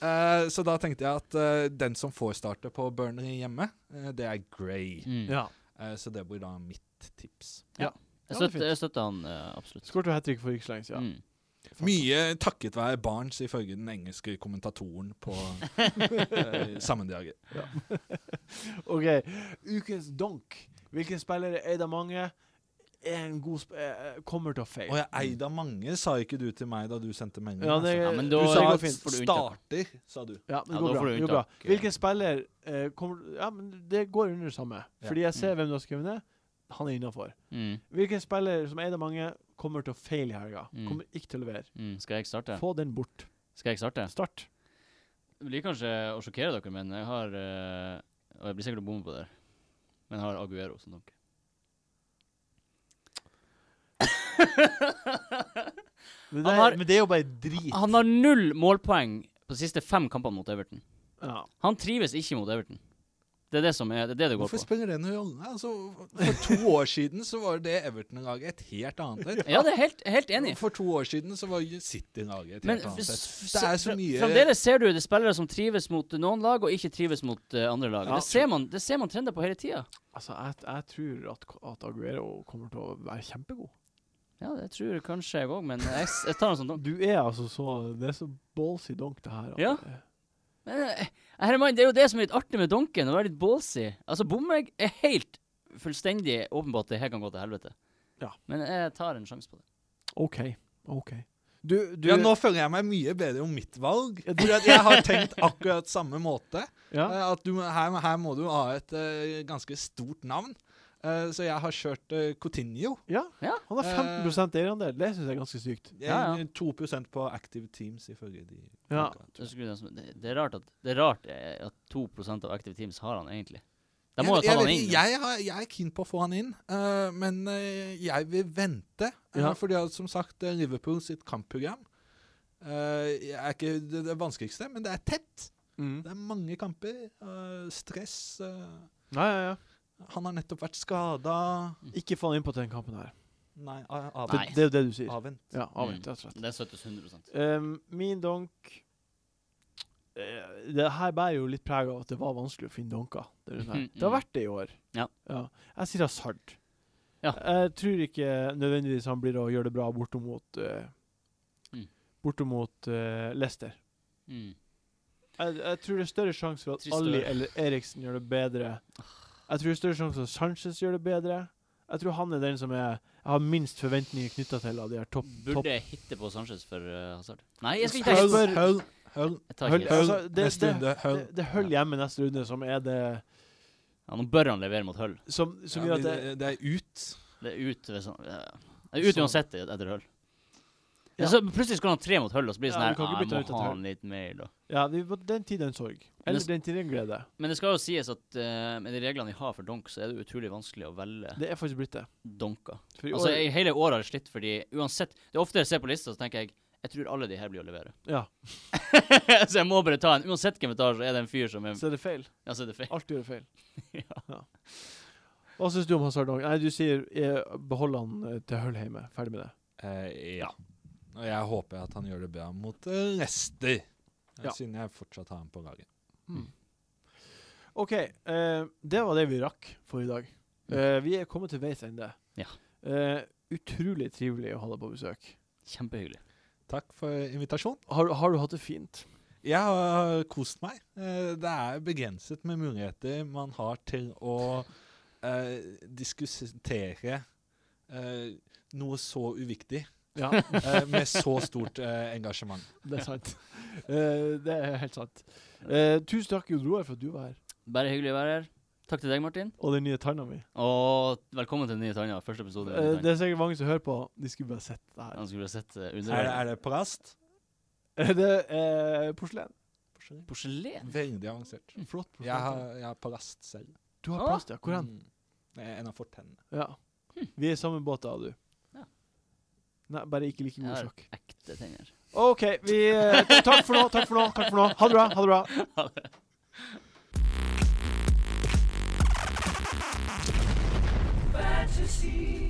Eh, så da tenkte jeg at eh, den som får starte på Burnley hjemme, eh, det er Gray.
Mm.
ja.
Eh, så det blir da mitt tips.
Ja,
Jeg,
det er
støtter, jeg støtter han eh, absolutt.
Skåret hat trick for ikke så lenge siden.
Mm.
Mye takket være Barnes, ifølge den engelske kommentatoren på eh, sammendraget.
OK. Ukens donk. Hvilken spiller er eid av mange? Er en god sp eh, kommer til å feile.
Og jeg eide av mange, sa ikke du til meg da du sendte melding.
Ja, det-
Ja, men
Du
da
altså.
det går
Du
fint.
sa
får du unntak.
starter, sa du.
Ja, men det
Ja,
går
da får
bra.
du
Det går bra.
unntak, eh.
Hvilken spiller eh, kommer Ja, men det går under det samme.
Ja.
Fordi jeg ser
Mm.
hvem du har skrevet ned. Han er innafor.
Mm.
Hvilken spiller som eier mange, kommer til å feile i helga.
Mm.
Kommer ikke til å levere.
Mm. Skal jeg starte?
Få den bort.
Skal jeg starte?
Start.
Det blir kanskje å sjokkere dere, men jeg har eh, Og jeg blir sikkert å bomme på det. her, Men jeg har Aguero som donk.
Men det,
Han
er,
har-
men det er jo bare drit.
Han har null målpoeng på de siste fem kampene mot Everton.
Ja.
Han trives ikke mot Everton. Det er det som er, det, er det, det går
Hvorfor
på.
spiller det noen rolle? Altså, for to år siden så var det Everton-laget et helt annet et.
Ja, det er helt, helt enig.
For to år siden så var City-laget et
Men
helt annet et.
s-
Det er så
fre-
mye
Fremdeles ser du det spillere som trives mot noen lag, og ikke trives mot eh, andre lag.
Ja.
Det ser man, det ser man trender på hele tida.
Altså, jeg, jeg tror at, at Aguero kommer til å være kjempegod.
Ja, det tror jeg kanskje jeg òg, men jeg, s- jeg tar en sånn dom.
Du er altså så Det er så ballsy donk, det her. at
Ja.
det-
Men, eh, Herman, det er jo det som er litt artig med donken, å være litt ballsy. Altså, bommer jeg er helt fullstendig åpenbart det her kan gå til helvete.
Ja.
Men jeg tar en sjanse på det.
OK. OK. Du, du
Ja, nå føler jeg meg mye bedre om mitt valg.
Ja, du-
For at jeg har tenkt akkurat samme måte.
ja.
Eh, At du, må- her, her må du ha et eh, ganske stort navn. Eh, så jeg har kjørt uh, Cotinio.
ja.
Ja.
Han har 15 eierandel. Det syns jeg er ganske sykt.
Ja, ja.
2 på Active Teams, ifølge de.
Ja.
folka, tror
Det,
jeg.
skulle jeg som- det, det er rart at, det er rart eh, at 2 av Active Teams har han egentlig. De må
Jeg-
jo ta
jeg
han
vet
inn.
ikke,
nå.
Jeg, har, jeg er keen på å få han inn, eh, men eh, jeg vil vente. eh,
Ja.
Fordi at, som sagt, eh, Liverpool sitt kampprogram eh, er ikke det, det vanskeligste, men det er tett.
Mm.
Det er mange kamper. eh, stress. eh,
Ja, ja, ja.
han har nettopp vært skada.
Ikke fall innpå den kampen her.
Nei, a- av,
Det,
Nei.
det er jo det du sier.
avvent.
Ja, avvent,
Mm.
rett og slett.
Det støttes 100
Ehm, min donk eh, Det her bærer jo litt preg av at det var vanskelig å finne donker. Det, er jo sånn her.
Mhm,
det har
mhm.
vært det i år.
Ja.
Jeg sier Hazard.
Ja.
Jeg tror ikke nødvendigvis han blir å gjøre det bra bortimot eh,
Mm.
Bortimot eh, Leicester.
Mm.
Jeg, jeg tror det er større sjanse for at
Trist å
Ali
høre.
eller Eriksen gjør det bedre. Jeg tror det er større sjanse for at Sanchez gjør det bedre. Jeg tror han er den som er, jeg har minst forventninger knytta til av de her topp... topp.
Burde jeg hitte på Sanchez for eh, Hazard? Nei, jeg skal ikke
Hazard-
hitte.
spør-
Hull, Hull,
Jeg tar
Hull-
ikke
Hull-
Hull.
altså, det-
neste
det-
runde. Hull.
Det, det holder hjemme neste runde, som er det
Ja, nå bør han levere mot Hull.
Som, som
Ja,
gjør at det
det, det er ut.
Det er ut hvis han- ja. Det er ut
Så-
uansett et- etter Hull.
Ja.
Men Så plutselig skal han ha tre mot Hull, og så blir det
Ja,
sånn
du kan ikke
her,
bytte
ja, jeg
ut
må
etter
ha
Hull."
han litt mer, da.
Ja, vi, på den tid er en sorg. Eller
s-
den tid er en glede.
Men det skal jo sies at eh, med de reglene vi har for donk, så er det utrolig vanskelig å velge
Det er faktisk blitt det.
donker.
For i
Altså,
år-
jeg, hele året har jeg slitt fordi uansett Det er ofte jeg ser på lista, så tenker jeg jeg tror alle de her blir å levere.
ja,
så jeg må bare ta en. Uansett hvem jeg tar, så er det en fyr som er
så er det feil.
Ja, så er det feil.
Alt gjør det feil.
ja.
Hva syns du om Hazard Dong? Nei, du sier eh, behold han eh, til Hull hjemme. Ferdig med det.
Eh, ja. Og jeg håper at han gjør det bra mot eh, Leicester, eh,
Ja.
siden jeg fortsatt har ham på laget.
Mm. OK. eh, det var det vi rakk for i dag. Eh, vi er kommet til veis ende.
Ja.
Eh, utrolig trivelig å ha deg på besøk.
Kjempehyggelig.
Takk for invitasjonen.
Har, du- har du hatt det fint?
Jeg har kost meg. Eh, Det er begrenset med muligheter man har til å eh, diskutere eh, noe så uviktig
Ja,
eh, med så stort eh, engasjement.
det er sant. Eh, det er helt sant. Eh, tusen takk, Jon Roar, for at du var her.
Bare hyggelig å være her. Takk til deg, Martin.
Og den nye tanna mi.
Og velkommen til den nye Tanja. Første episode.
Eh,
Uh,
det er Altså. sikkert mange som hører på. De skulle bare sett det her.
Han skulle ha sett eh,
Er det,
under
er det plast?
Er det eh, porselen?
Porselen?
Veldig avansert.
Flott porselen.
Jeg har, jeg har plast selv.
Du har
Ah.
plast, ja. Hvor hen?
Mm. Eh, En av fortennene.
Ja. Vi er i samme båt, da, du.
Ja.
Nei, bare ikke like
Jeg
god
har
sjakk.
ekte tenner.
OK, vi eh, Takk for nå, takk for nå, takk for nå. Ha det bra, ha det bra.
fantasy.